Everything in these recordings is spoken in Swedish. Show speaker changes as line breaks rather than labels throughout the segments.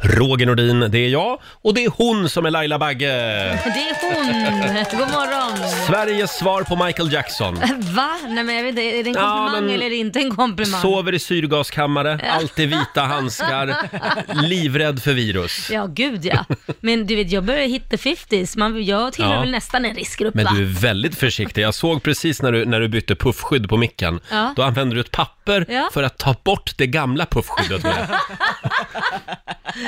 Roger Nordin, det är jag. Och det är hon som är Laila Bagge.
Det är hon! God morgon!
Sveriges svar på Michael Jackson.
Va? Nej men jag vet inte, är det en
Ja,
komplimang
men-
eller är det inte en komplimang?
Sover i syrgaskammare, alltid vita handskar, livrädd för virus.
Ja, gud ja. Men du vet, jag börjar hitta 50s. Man, jag tillhör
Ja.
väl nästan en riskgrupp
Men
va?
du är väldigt försiktig. Jag såg precis när du, när du bytte puffskydd på micken.
Ja.
Då använde du ett papper
Ja.
för att ta bort det gamla puffskyddet med.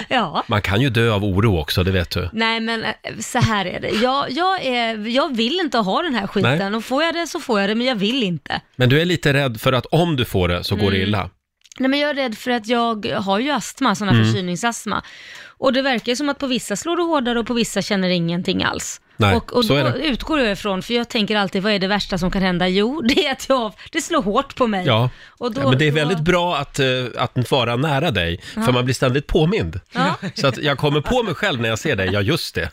Ja.
Man kan ju dö av oro också, det vet du.
Nej men eh, så här är det. Jag, jag, är, jag vill inte ha den här skiten
Nej.
och får jag det så får jag det men jag vill inte.
Men du är lite rädd för att om du får det så går det
Mm.
illa.
Nej men jag är rädd för att jag har ju astma, sån här
Mm.
förkylningsastma. Och det verkar ju som att på vissa slår det hårdare och på vissa känner det ingenting alls.
Nej,
och och
så är
då
det.
utgår jag ifrån, för jag tänker alltid vad är det värsta som kan hända? Jo, det är att jag, det slår hårt på mig.
Ja.
och
ja, men det är väldigt
då-
bra att, eh, att vara nära dig, för man blir ständigt påmind.
Ja.
Så att jag kommer på mig själv när jag ser dig, ja just det.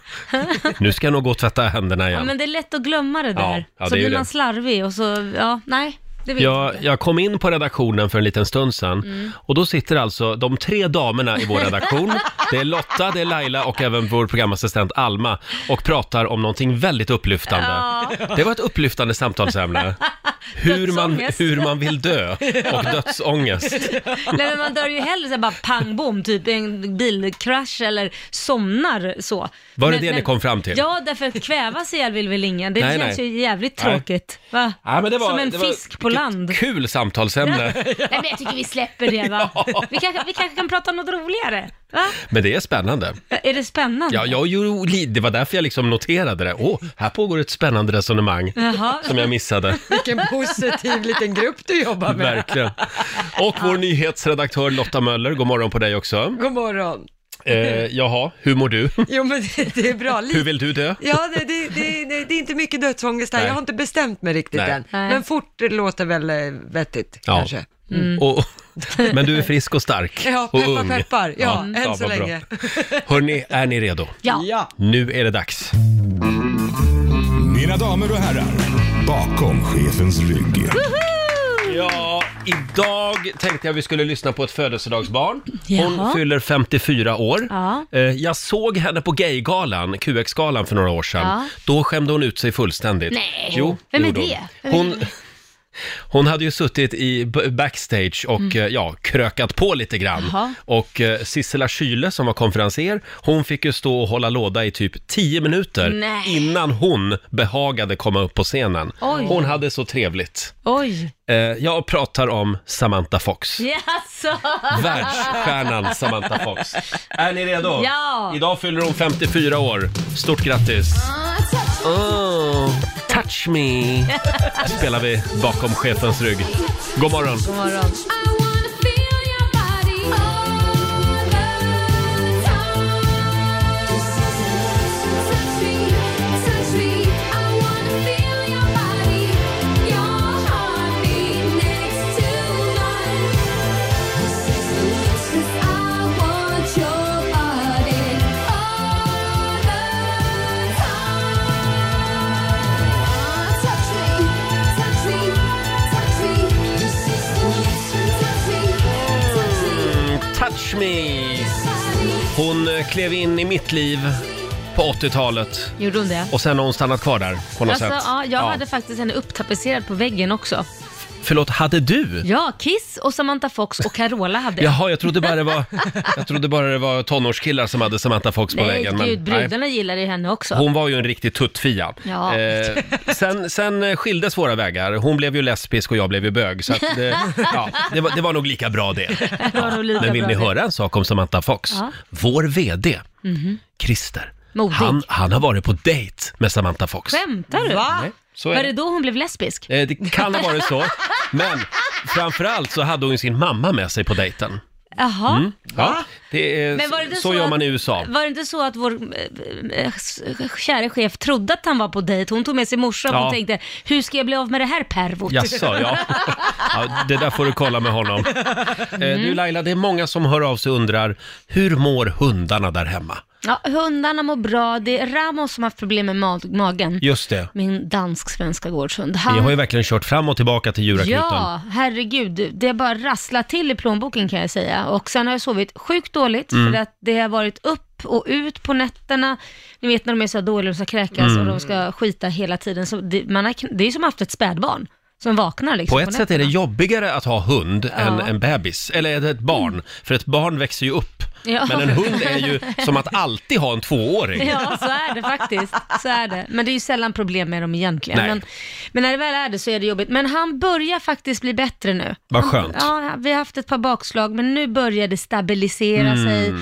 Nu ska jag nog gå och tvätta händerna
Ja,
igen.
men det är lätt att glömma det där.
Ja, ja,
så
det är ju
blir man
det.
slarvig och så, ja, nej, det Mm. vet jag
Jag,
inte.
jag kom in på redaktionen för en liten stund sedan och då sitter alltså de tre damerna i vår redaktion. Det är Lotta, det är Laila och även vår programassistent Alma och pratar om någonting väldigt upplyftande. Det var ett upplyftande samtalsämne. Hur man,
Dödsångest.
hur man vill dö och dödsångest.
Nej, men man dör ju hellre så här bara pang bom, typ en bilkrasch eller somnar så.
Var det
Men-
det ni
men-
kom fram till?
Ja, därför att kvävas ihjäl vill väl ingen. Det
Nej,
känns
nej.
ju jävligt
Nej.
tråkigt. Va?
Ja, men det var,
Som en
det var
fisk på
vilket
land.
Kul samtalsämne.
Nej, men jag tycker vi släpper det va.
Ja.
Vi, kanske, vi kanske kan prata om något roligare. Va?
Men det är spännande.
Är det spännande?
Ja, jag, gjorde- det var därför jag liksom noterade det. Åh, här pågår ett spännande resonemang
Jaha.
som jag missade.
Vilken positiv liten grupp du jobbar med.
Verkligen. Och vår nyhetsredaktör Lotta Möller, god morgon på dig också.
God morgon.
Eh, jaha, hur mår du?
Jo men det, det är bra. Lite-
Hur vill du dö?
Ja, det, det, det, det, det är inte mycket dödsångest här.
Nej.
Jag har inte bestämt mig riktigt
Nej.
än.
Nej.
Men fort låter väl eh, vettigt
Ja.
kanske.
Mm.
Och, men du är frisk och stark
Ja,
och
peppar peppar. Ja, än så
vad bra.
länge.
Hörni, är ni redo?
Ja.
Nu är det dags.
Mina damer och herrar, bakom chefens rygg.
Ja, idag tänkte jag vi skulle lyssna på ett födelsedagsbarn. Hon
Jaha.
fyller 54 år.
Ja.
Eh, Jag såg henne på Gaygalan, QX-galan för några år sedan.
Ja.
Då skämde hon ut sig fullständigt.
Nej.
Jo,
Vem är
gjorde hon.
det? Vem är
Hon, hon hade ju suttit i b- backstage och eh, ja, krökat på lite grann.
Mm. Jaha.
Och eh, Sissela Kyle som var konferenser, hon fick ju stå och hålla låda i typ 10 minuter
Nej.
innan hon behagade komma upp på scenen.
Oj.
Hon hade så trevligt.
Oj.
Eh, jag pratar om Samantha Fox.
Jaså?
Världsstjärnan Samantha Fox. Är ni redo?
Ja.
Idag fyller hon 54 år. Stort grattis!
Ah,
Oh, touch me! Här spelar vi bakom chefens rygg. God morgon!
God morgon.
Mm, touch me! Hon eh, klev in i mitt liv på 80-talet
Gjorde hon det?
och sen har hon stannat kvar där på något
Alltså,
sätt.
ja, jag hade faktiskt henne upptapetserad på väggen också.
Förlåt, hade du?
Ja, Kiss och Samantha Fox och Carola hade jag.
Jaha, jag trodde bara det var, jag trodde bara det var tonårskillar som hade Samantha Fox på
Nej,
väggen. men-
gud,
nej.
brudarna gillade ju henne också.
Hon var ju en riktig tuttfia.
Ja.
Eh, sen, sen eh, skildes våra vägar. Hon blev ju lesbisk och jag blev ju bög. Så att det, ja, det, var, det var nog lika bra det.
Det var nog lika
Men vill
bra
ni
det.
höra en sak om Samantha Fox?
Ja. Mhm.
Vår VD, Christer,
Modig.
han, han har varit på dejt med Samantha Fox.
Skämtar du?
Va?
Så
Var
är
det
det.
då hon blev lesbisk?
Eh, det kan ha varit så. Men framförallt så hade hon ju sin mamma med sig på dejten.
Jaha.
Mm. Ja, det är,
Men var det inte
så,
så
gör
att-
man i USA.
Var det inte så att vår eh, eh, kära chef trodde att han var på dejt? Hon tog med sig morsan
Ja.
och tänkte, hur ska jag bli av med det här pervot?
Jaså, ja. ja. Det där får du kolla med honom.
Mm.
Eh, Du Laila, det är många som hör av sig och undrar, hur mår hundarna där hemma?
Ja, hundarna mår bra. Det är Ramos som har haft problem med ma- magen.
Just det.
Min dansk-svenska gårdshund.
Vi
Han...
har ju verkligen kört fram och tillbaka till djurakuten.
Ja, herregud. Det har bara rasslat till i plånboken kan jag säga. Och sen har jag sovit sjukt dåligt
Mm.
för att det har varit upp och ut på nätterna. Ni vet när de är så här dåliga och ska kräkas
Mm.
och de ska skita hela tiden. Så det, man har, kn- det är som att haft ett spädbarn som vaknar liksom
På ett sätt är det jobbigare att ha hund än en bebis, eller ett barn. För ett barn växer ju upp.
Mm. Ja.
Men en hund är ju som att alltid ha en tvååring.
Ja, så är det faktiskt. Så är det. Men det är ju sällan problem med dem egentligen.
Nej.
Men, men när det väl är det så är det jobbigt. Men han börjar faktiskt bli bättre nu.
Vad
Han-
skönt.
Ja, vi har haft ett par bakslag, men nu börjar det stabilisera
Mm.
sig.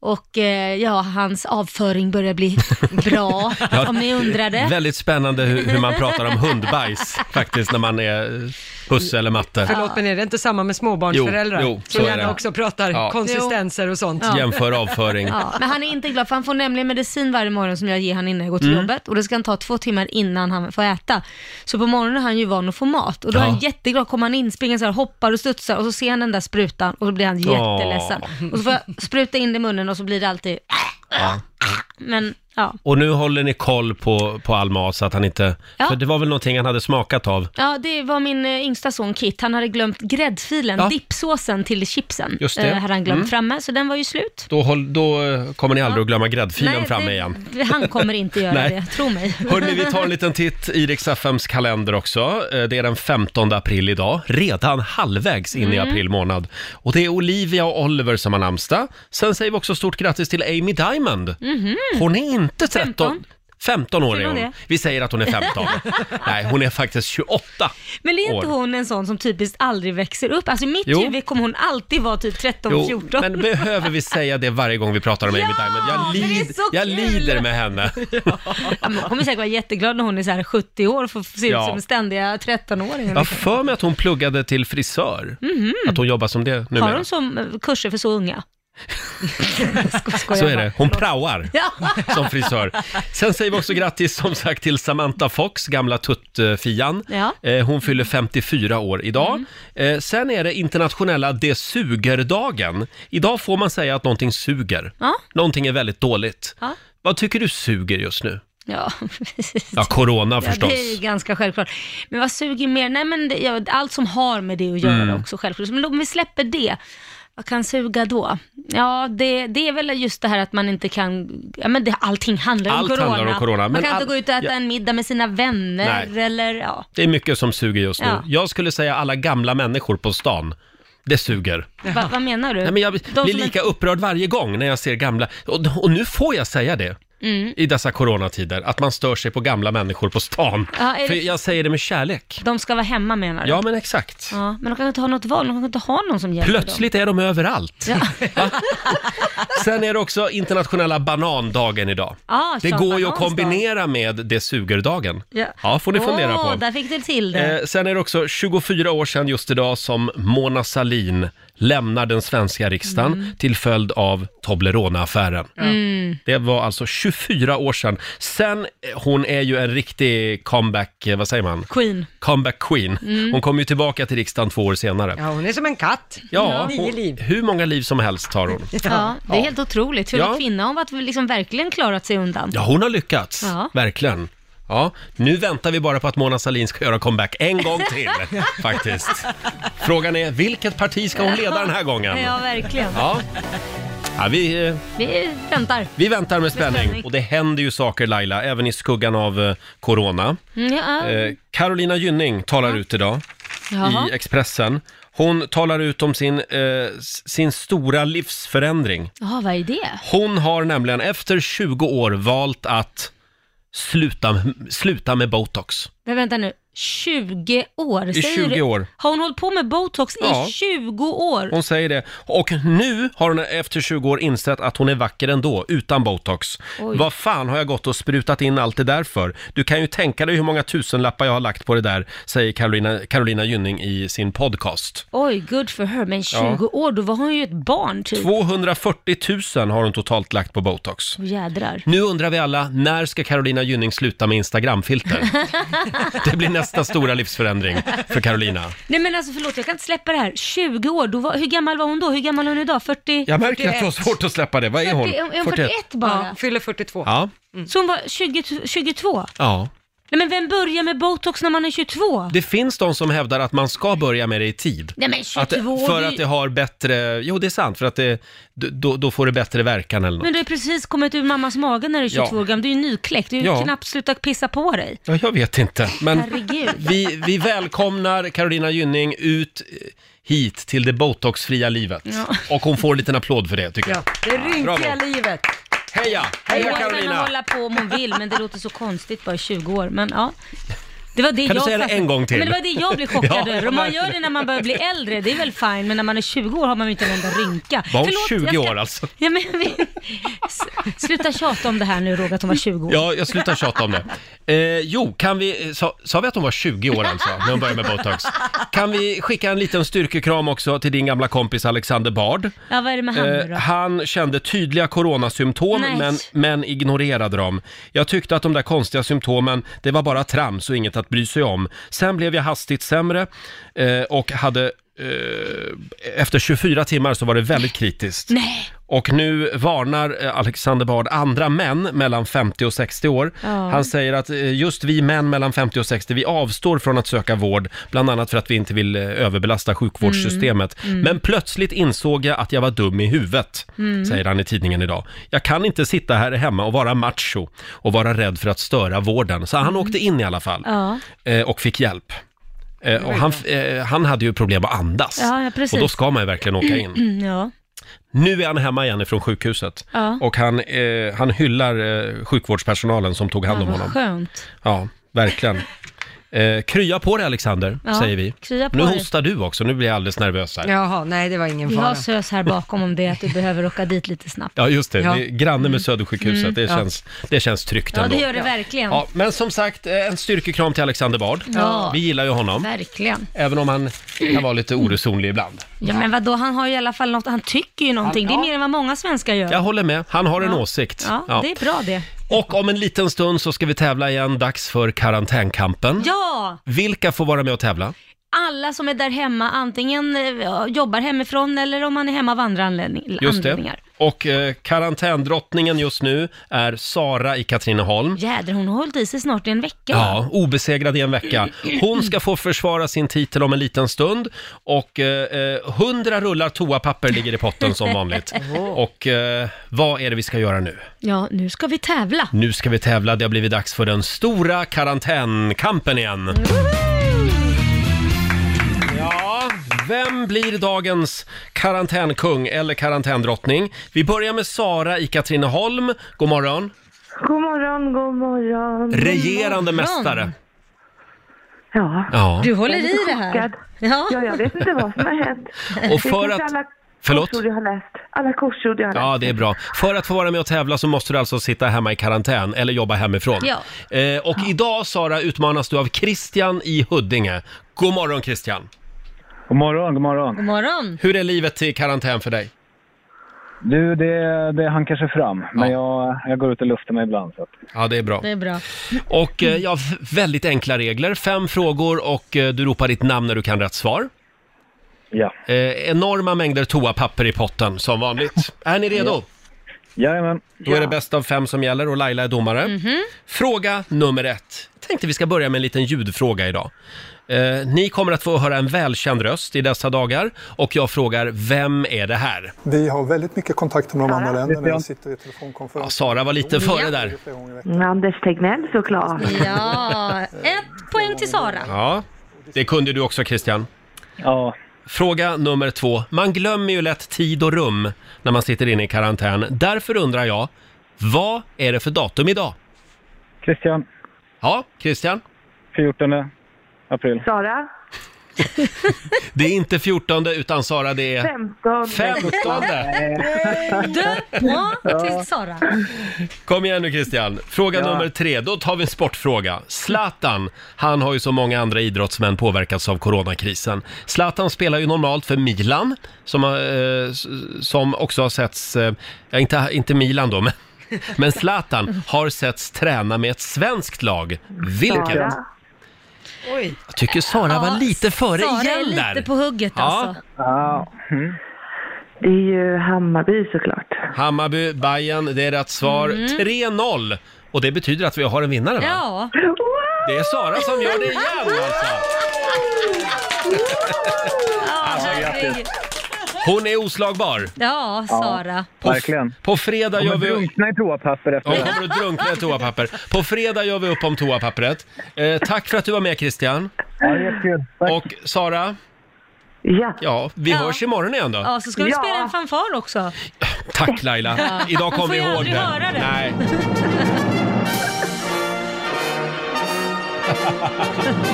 Och eh, ja, hans avföring börjar bli bra, om ni undrade.
Väldigt spännande hur, hur man pratar om hundbajs faktiskt när man är husse eller matte.
Förlåt, men är det inte samma med småbarnsföräldrar?
Jo, jo, så
som
är
gärna
det.
också pratar
Ja.
konsistenser och sånt.
Ja.
Jämför avföring.
Ja, men han är inte glad för han får nämligen medicin varje morgon som jag ger han innan jag går
Mm.
till jobbet och det ska han ta två timmar innan han får äta. Så på morgonen är han ju van att få mat och då är
Ja.
han jätteglad, kommer han in, springer så här, hoppar och studsar och så ser han den där sprutan och då blir han
Åh.
jätteledsen. Och så får jag spruta in det i munnen och så blir det alltid Men ja.
Och nu håller ni koll på, på all mat så att han inte...
Ja.
För det var väl någonting han hade smakat av?
ja, det var min eh, yngsta son Kit, han hade glömt gräddfilen,
Ja.
dippsåsen till chipsen
Just det.
eh, hade han glömt framme så den var ju slut.
Då, håll, då eh, kommer ni aldrig att glömma gräddfilen
Nej,
framme
det-
igen.
Han kommer inte göra
Nej.
det, tro mig.
Hörni, vi tar en liten titt i Rix FMs kalender också. Eh, Det är den 15 april idag, redan halvvägs in i
Mm.
april månad. Och det är Olivia och Oliver som har namnsdag. Sen säger vi också stort grattis till Amy Diamond. Hon är inte 13... 15.
15.
år är
Mhm. Säger hon
hon.
det?
Vi säger att hon är 15. Nej, hon är faktiskt 28.
Men är inte
år.
hon en sån som typiskt aldrig växer upp? Alltså i mitt
Jo.
huvud kommer hon alltid vara typ 13, 14.
men behöver vi säga det varje gång vi pratar om Amy
Ja,
Diamond? Jag,
men det är
lid,
så
jag
kul!
lider med henne.
Ja, men Hon kommer säkert vara jätteglad när hon är så här 70 år och får se ut
Ja.
som ständiga 13-åringar.
Jag har för mig att hon pluggade till frisör. Att hon jobbar som det
Mhm. Har
numera.
hon som eh, kurser för så unga? Sko- skojar
Så är
bara.
det. Hon praoar.
Ja.
som frisör. Sen säger vi också grattis som sagt till Samantha Fox, gamla tuttfian.
Ja. Mm.
Eh, Hon fyller 54 år idag. Eh, Sen är det internationella Det suger-dagen. Idag får man säga att någonting suger.
Ja.
Någonting är väldigt dåligt.
Ja.
Vad tycker du suger just nu?
Ja, precis.
Ja, corona förstås.
Ja, det är ju ganska självklart. Men vad suger mer? Nej, men det, ja, allt som har med det att göra
Mm.
också självklart. Men om vi släpper det, vad kan suga då? Ja, det, det är väl just det här att man inte kan, ja men det, allting handlar om
Allt
corona.
handlar om corona, men
man kan
all-
inte gå ut och äta
ja.
en middag med sina vänner
Nej.
eller ja.
Det är mycket som suger just nu.
Ja.
Jag skulle säga alla gamla människor på stan. Det suger.
Va, vad menar du?
Nej, men jag
som
blir lika upprörd varje gång när jag ser gamla. Och, och nu får jag säga det
Mm.
i dessa coronatider, att man stör sig på gamla människor på stan.
Ja, är det-
För jag säger det med kärlek.
De ska vara hemma menar du?
Ja, men exakt.
Ja, men de kan inte ha något val, de kan inte ha någon som hjälper dem.
Plötsligt är de överallt.
Ja.
Va? Sen är det också internationella banandagen idag.
Ja,
det
Sean
går ju att
Ah, Banans dag.
kombinera med det sugerdagen.
Ja.
Ja, får ni fundera
Åh,
på.
där fick du till det.
Eh, sen är det också 24 år sedan just idag som Mona Salin lämnar den svenska riksdagen
Mm.
till följd av Toblerone-affären. Det var alltså 24 år sedan. Sen, eh, hon är ju en riktig comeback, eh, vad säger man?
Queen.
Comeback queen. Hon kom ju tillbaka till riksdagen två år senare.
Mm. Ja, hon är som en katt.
Ja,
Nio
hon,
liv.
hur många liv som helst tar hon.
Ja, det är helt otroligt. Hur
Ja.
en kvinna har varit liksom verkligen klarat sig undan.
Ja, hon har lyckats.
Ja.
Verkligen. Ja, nu väntar vi bara på att Mona Sahlin ska göra comeback en gång till, faktiskt. Frågan är, vilket parti ska hon leda den här gången?
Ja, verkligen.
Ja. Ja, vi, eh,
Vi väntar.
vi väntar med spänning.
spänning.
Och det händer ju saker Laila, även i skuggan av eh, corona.
Mm, ja.
Eh, Carolina Gynning talar ut idag
Jaha.
i Expressen. Hon talar ut om sin, eh, s- sin stora livsförändring.
Jaha, vad är det?
Hon har nämligen efter 20 år valt att sluta, sluta med botox.
Men vänta nu. 20 år?
I
säger du-
20 år.
Har hon hållit på med botox
Ja.
i 20 år?
Hon säger det. Och nu har hon efter 20 år insett att hon är vacker ändå, utan botox.
Oj.
Vad fan har jag gått och sprutat in allt det där för? Du kan ju tänka dig hur många tusenlappar jag har lagt på det där, säger Carolina, Carolina Gynning i sin podcast.
Oj, good for her. Men 20
Ja.
år, då var hon ju ett barn typ.
240 000 har hon totalt lagt på botox.
Åh, jädrar.
Nu undrar vi alla, när ska Carolina Gynning sluta med Instagramfilter? Det blir nästa stora livsförändring för Carolina?
Nej men alltså förlåt, jag kan inte släppa det här. 20 år, då var, hur gammal var hon då? Hur gammal är hon idag? 40?
Jag märker att du har
41.
svårt att släppa det. Vad är hon?
40 är hon 41 bara?
Ja, fyller 42.
Ja. Mm.
Så hon var 20, 22?
ja.
Nej men vem börjar med botox när man är 22?
Det finns de som hävdar att man ska börja med det i tid.
Nej men
Att,
22,
för
det-
att det har bättre, jo det är sant, för att det, då, då får det bättre verkan eller något.
men du har precis kommit ur mammas mage när du är 22
Ja.
år gammal. Du är ju nykläckt, du har ju
Ja.
knappt slutat pissa på dig.
Ja, jag vet inte. Men
Herregud.
vi, vi välkomnar Carolina Gynning ut eh, hit till det botoxfria livet. Och hon får en liten applåd för det tycker jag.
Ja, det rynkiga
Bravo.
livet.
Heja!
Hon
Heja
kan
Carolina!
hålla på om hon vill, men det låter så konstigt bara 20 år. Men ja. Det var det
Kan du
jag
säga det
fastnade-
en gång till?
Men det var det jag blev chockad
Ja,
över. Om man
verkligen.
gör det när man börjar bli äldre, det är väl fine, men när man är 20 år har man ju inte en enda rynka.
Var hon
Förlåt,
20
jag ska-
år alltså?
Ja, men, vi... S- Sluta tjata om det här nu Roger, att hon var 20 år.
Ja, jag slutar tjata om det. Eh, jo, kan vi, eh, sa, sa vi att hon var 20 år alltså, när hon började med botox? Kan vi skicka en liten styrkekram också till din gamla kompis Alexander Bard?
Ja, vad är det med han nu
Eh,
då?
han kände tydliga coronasymptom
Nej.
men, men ignorerade dem. Jag tyckte att de där konstiga symptomen, det var bara trams och inget att bry sig om. Sen blev jag hastigt sämre eh, och hade eh, efter 24 timmar så var det väldigt kritiskt.
Nej.
Och nu varnar eh, Alexander Bard andra män mellan 50 och 60 år.
Ja.
Han säger att eh, just vi män mellan 50 och 60, vi avstår från att söka vård, bland annat för att vi inte vill eh, överbelasta sjukvårdssystemet.
Mm.
Men plötsligt insåg jag att jag var dum i huvudet,
Mm.
säger han i tidningen idag. Jag kan inte sitta här hemma och vara macho och vara rädd för att störa vården. Så han åkte in i alla fall
Mm. Ja.
eh, och fick hjälp. Eh, Och han, f- eh, han hade ju problem att andas.
Ja, ja, precis.
och då ska man ju verkligen åka in.
Mm, ja.
Nu är han hemma igen ifrån sjukhuset
Ja.
och han, eh, han hyllar eh, sjukvårdspersonalen som tog hand
ja,
om
vad
honom.
skönt.
Ja, verkligen. Eh, krya på dig Alexander,
Ja,
säger vi.
krya på
nu
dig.
hostar du också, nu blir jag alldeles nervös här. Ja,
Jaha, nej det var ingen
Vi har
fara.
SÖS här bakom om det, att du behöver åka dit lite snabbt.
just det.
Ja.
det är granne med Södersjukhuset, det,
ja.
känns, det känns tryggt
Mm. Ja,
ändå.
det gör det verkligen.
Ja, men som sagt, eh, en styrkekram till Alexander Bard.
Ja.
Vi gillar ju honom,
Verkligen.
även om han kan vara lite oresonlig ibland.
Ja, men vadå, han har ju i alla fall något, han tycker ju någonting. Det är mer än vad många svenskar gör.
Jag håller med, han har en
Ja.
åsikt.
Ja,
Ja.
det är bra det.
Och om en liten stund så ska vi tävla igen, dags för karantänkampen.
Ja!
Vilka får vara med och tävla?
Alla som är där hemma, antingen eh, jobbar hemifrån eller om man är hemma av andra anledning-
Just det.
anledningar.
Och eh, karantändrottningen just nu är Sara i Katrineholm.
Jädrar, hon har hållit i sig snart i en vecka.
Ja, obesegrad i en vecka. Hon ska få försvara sin titel om en liten stund och eh, hundra rullar toapapper ligger i potten som vanligt. Och eh, vad är det vi ska göra nu?
ja, nu ska vi tävla.
Nu ska vi tävla, det har blivit dags för den stora karantänkampen igen. Ja, vem blir dagens karantänkung eller karantändrottning? Vi börjar med Sara i Katrineholm. God morgon.
God morgon, god morgon.
Regerande mästare.
Ja,
Ja,
Du håller
Jag är
i
lite
det här.
chockad.
Ja.
ja jag vet inte vad som har hänt.
och
Det är
för
kanske
att...
alla
Förlåt?
korsord jag har läst. Alla korsord jag har läst.
Ja, det är bra. För att få vara med och tävla så måste du alltså sitta hemma i karantän eller jobba hemifrån.
Ja.
Eh, och idag, Sara, utmanas du av Christian i Huddinge. God morgon, Christian.
God morgon, god morgon.
God morgon.
Hur är livet i karantän för dig?
Du, det, det hankar sig fram. Men jag, jag går ut och luftar mig ibland. Så. att-
Ja, det är bra.
Det är bra.
Och eh, ja, v- väldigt enkla regler. Fem frågor och eh, du ropar ditt namn när du kan rätt svar.
Ja.
Eh, enorma mängder toapapper i potten, som vanligt. Är ni redo?
Jajamän.
Då är det bäst av fem som gäller och Laila är domare. Fråga nummer ett. Tänkte vi ska börja med en liten ljudfråga idag. Eh, ni kommer att få höra en välkänd röst i dessa dagar och jag frågar, vem är det här?
Vi har väldigt mycket kontakt med de andra länderna.
Christian.
Jag sitter i
Ja,
telefonkonferens
Sara var lite före
Ja.
där.
flera gånger i veckan.
bra. Mm, Anders Tegnell såklart.
Mm.
Ja, ett poäng till Sara.
Ja, det kunde du också Christian.
Ja.
Fråga nummer två. Man glömmer ju lätt tid och rum när man sitter inne i karantän. Därför undrar jag, vad är det för datum idag?
Christian,
Ja, Christian?
14 april.
Sara,
Det är inte 14 utan Sara, det är
15.
15.
Du, ja, till Sara.
Kom igen nu Christian. Fråga nummer tre, då tar vi en sportfråga. Zlatan, han har ju som många andra idrottsmän påverkats av coronakrisen. Zlatan spelar ju normalt för Milan, som, har, eh, s- som också har setts, eh, ja, inte, inte Milan då, men, men Zlatan har setts träna med ett svenskt lag. Vilket?
Sara,
Oj.
Jag tycker Sara var lite före
Sara är
igen
lite
där.
på hugget
Ja.
alltså.
Ja, mm.
Det är ju Hammarby såklart.
Hammarby, Bayern, det är rätt svar. 3-0! Och det betyder att vi har en vinnare va?
Mm. Ja,
Det är Sara som gör det igen alltså!
alltså,
grattis. Hon är oslagbar.
ja Sara.
På,
Verkligen.
på fredag gör
Kommer
vi...
drunkna i toapapper efter
Ja,
det
hon
här.
kommer att drunkna i toapapper. På fredag gör vi upp om toapappret. Eh, tack för att du var med Christian.
Ja, det är jättekul. Tack.
Och Sara,
Ja.
ja, vi
Ja.
hörs imorgon igen då.
Ja, så ska vi
Ja.
spela en fanfar också.
Tack Laila. Idag
Man
kom
får
vi
ju
ihåg
aldrig
det.
höra det.
Nej.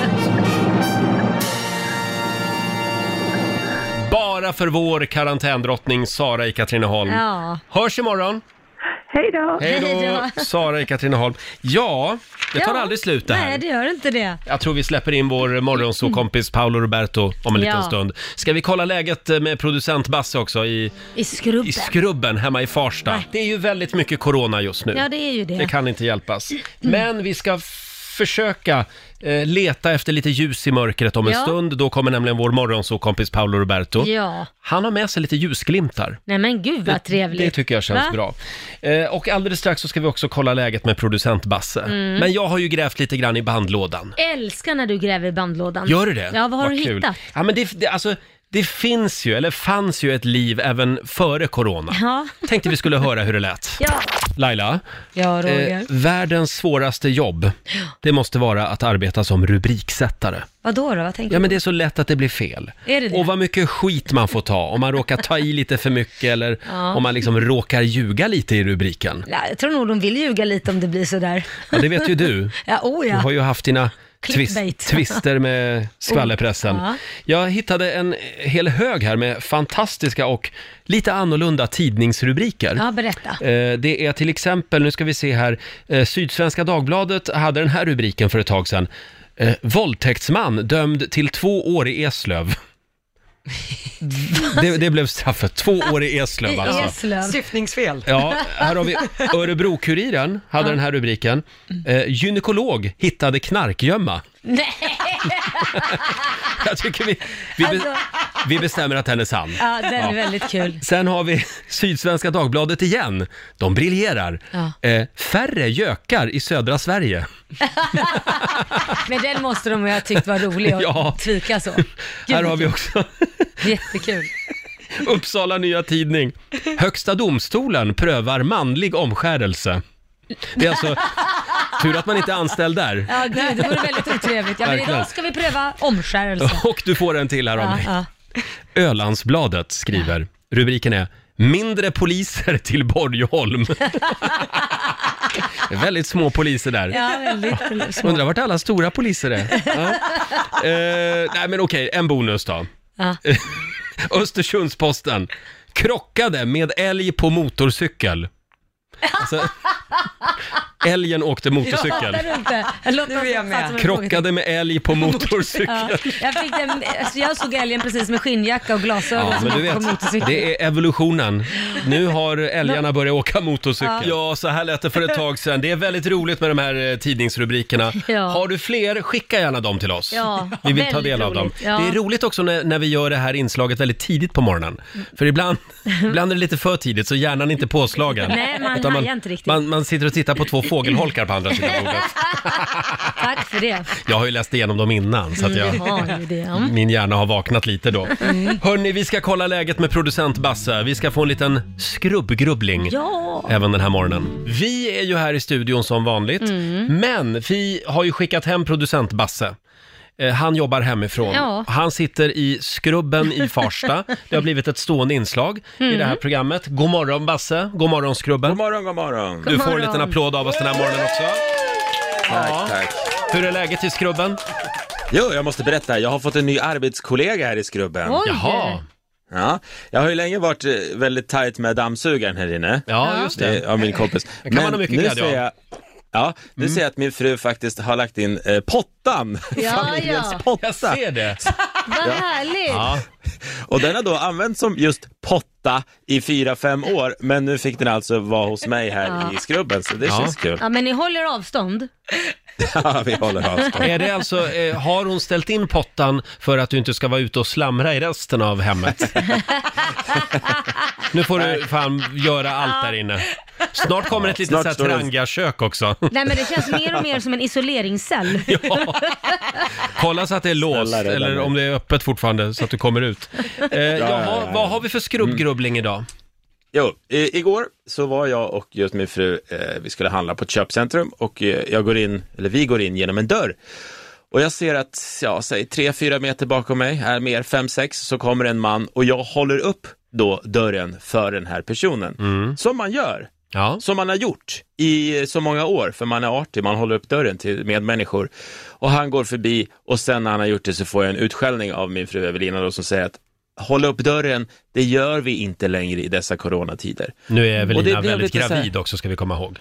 Bara för vår karantändrottning Sara i Katrineholm.
Ja.
Hörs imorgon.
Hej då!
Hej
Hej
då, Sara i Katrineholm. Ja, det tar aldrig slut det här.
Nej, det gör inte det.
Jag tror vi släpper in vår morgonsåkompis Paolo Roberto om en liten
Ja.
stund. Ska vi kolla läget med producent Basse också i,
I skrubben.
i skrubben hemma i Farsta? Det är ju väldigt mycket corona just nu.
ja, det är ju det. Mm.
Det kan inte hjälpas. Men vi ska f- försöka eh, leta efter lite ljus i mörkret om en
Ja.
stund. Då kommer nämligen vår morgonsåkompis Paolo Roberto.
Ja.
Han har med sig lite ljusglimtar.
Nej men gud vad trevligt.
Det tycker jag känns
Va?
bra. Eh, och alldeles strax så ska vi också kolla läget med producent Basse.
Mm.
Men jag har ju grävt lite grann i bandlådan.
Älskar när du gräver i bandlådan.
Gör du det?
Ja, vad har du
kul.
hittat?
Ja, men det, det, alltså, det finns ju, eller fanns ju ett liv även före corona.
Ja.
Tänkte vi skulle höra hur det lät.
Ja,
Laila,
ja Roger.
eh, världens svåraste jobb, det måste vara att arbeta som rubriksättare.
Vadå då? Vad tänker
Ja, men
du?
det är så lätt att det blir fel.
Är det det?
Och vad mycket skit man får ta om man råkar ta i lite för mycket eller
Ja.
om man liksom råkar ljuga lite i rubriken.
Ja, jag tror nog de vill ljuga lite om det blir sådär.
Ja, det vet ju du.
Ja, oh
Du har
ja.
ju haft dina
Clickbait.
twist, twister med skvallerpressen.
Ja.
Jag hittade en hel hög här med fantastiska och lite annorlunda tidningsrubriker.
Ja, berätta.
Eh, Det är till exempel, nu ska vi se här, eh, Sydsvenska Dagbladet hade den här rubriken för ett tag sedan. Eh, Våldtäktsman dömd till två år i Eslöv. Det, det blev straffet, två år i Eslöv alltså.
Eslöv.
Syftningsfel.
Ja, här har vi Örebro-Kuriren, hade den här rubriken. Eh, gynekolog hittade knarkgömma.
Nej,
Jag tycker vi, vi, be,
alltså,
vi bestämmer att den är sann.
ja, den är väldigt kul.
Sen har vi Sydsvenska Dagbladet igen. De briljerar.
Ja.
Eh, färre gökar i södra Sverige.
Men den måste de ju ha tyckt var rolig att
Ja.
tweaka så.
Här har vi också
Jättekul.
Uppsala Nya Tidning. Högsta domstolen prövar manlig omskärelse. Det är alltså tur att man inte är anställd där.
Ja, gud, det vore väldigt otrevligt. Ja, men
Verkligen.
idag ska vi pröva omskärelse.
Och du får en till här av
Ja,
mig.
ja.
Ölandsbladet skriver, rubriken är Mindre poliser till Borgholm. Det är väldigt små poliser där.
ja, väldigt små.
Undrar vart alla stora poliser är. Ja. Eh, nej men okej, en bonus då.
Ja.
Östersundsposten. Krockade med älg på motorcykel. Alltså, älgen åkte
Jag fattar
motorcykel.
du inte. Låt
Nu är jag med.
Krockade med älg på motorcykel.
Ja, jag, fick den, alltså jag såg älgen precis med skinnjacka och glasögon
Ja,
som
men du
åkte på
vet,
motorcykel.
det är evolutionen. Nu har älgarna börjat åka motorcykel. Ja, så här lät det för ett tag sedan. Det är väldigt roligt med de här eh, tidningsrubrikerna.
Ja.
Har du fler, skicka gärna dem till oss.
Ja,
Vi vill ta
väldigt
del av dem.
roligt. Ja.
Det är roligt också när, när vi gör det här inslaget väldigt tidigt på morgonen. För ibland, ibland är det lite för tidigt så hjärnan är inte påslagen.
Nej, man
Utan
hajar inte riktigt.
Man, man sitter och tittar på två fågelholkar på andra sidan bordet.
Tack för det.
Jag har ju läst igenom dem innan så att jag...
Jag har ju det.
Min hjärna har vaknat lite då.
Mm.
Hörni, vi ska kolla läget med producent Basse. Vi ska få en liten skrubbgrubbling.
Ja,
Även den här morgonen. Vi är ju här i studion som vanligt,
Mm.
men vi har ju skickat hem producent Basse. Eh, Han jobbar hemifrån.
Ja.
Han sitter i skrubben i Farsta. Det har blivit ett stående inslag i
Mm.
det här programmet. God morgon Basse, god morgon skrubben.
God morgon, god morgon.
Du får en
morgon.
liten applåd av oss den här morgonen också.
Tack, tack.
Hur är läget i skrubben?
Jo, jag måste berätta. Jag har fått en ny arbetskollega här i skrubben.
oj.
Jaha,
Ja, jag har ju länge varit eh, väldigt tajt med dammsugaren här inne.
ja just det.
Det är av min kompis.
kan man ha mycket
nu
glädje av.
ser jag, Ja, nu ser jag att min fru faktiskt har lagt in eh, pottan.
Ja,
Familjens
ja.
potta.
Jag ser det.
Vad härligt.
Ja.
Och den har då använts som just potta i fyra fem år, men nu fick den alltså vara hos mig här i skrubben, så det
Ja.
känns kul.
Ja, men ni håller avstånd.
Ja, vi håller avstånd.
Är det alltså, eh, har hon ställt in pottan för att du inte ska vara ute och slamra i resten av hemmet? nu får du fan göra allt där inne. Snart kommer ett litet
Snart
så här
står det-
trangiakök också.
Nej, men det känns mer och mer som en isoleringscell.
Ja. Kolla så att det är låst
rädda
eller
mig.
om det är öppet fortfarande så att du kommer ut. Eh,
ja,
jaha,
ja.
vad har vi för skrubbgrubbling idag?
Jo, i, igår så var jag och just min fru, eh, vi skulle handla på ett köpcentrum och eh, jag går in, eller vi går in genom en dörr. Och jag ser att, ja, säg 3-4 meter bakom mig, här mer 5-6, så kommer en man och jag håller upp då dörren för den här personen. Som man gör,
Mm. Ja.
som man har gjort i så många år, för man är artig, man håller upp dörren till medmänniskor. Och han går förbi och sen när han har gjort det så får jag en utskällning av min fru Evelina då som säger att håll upp dörren, det gör vi inte längre i dessa coronatider.
Nu är
Och det
Evelina
blev
väldigt
lite så här-
gravid också ska vi komma ihåg.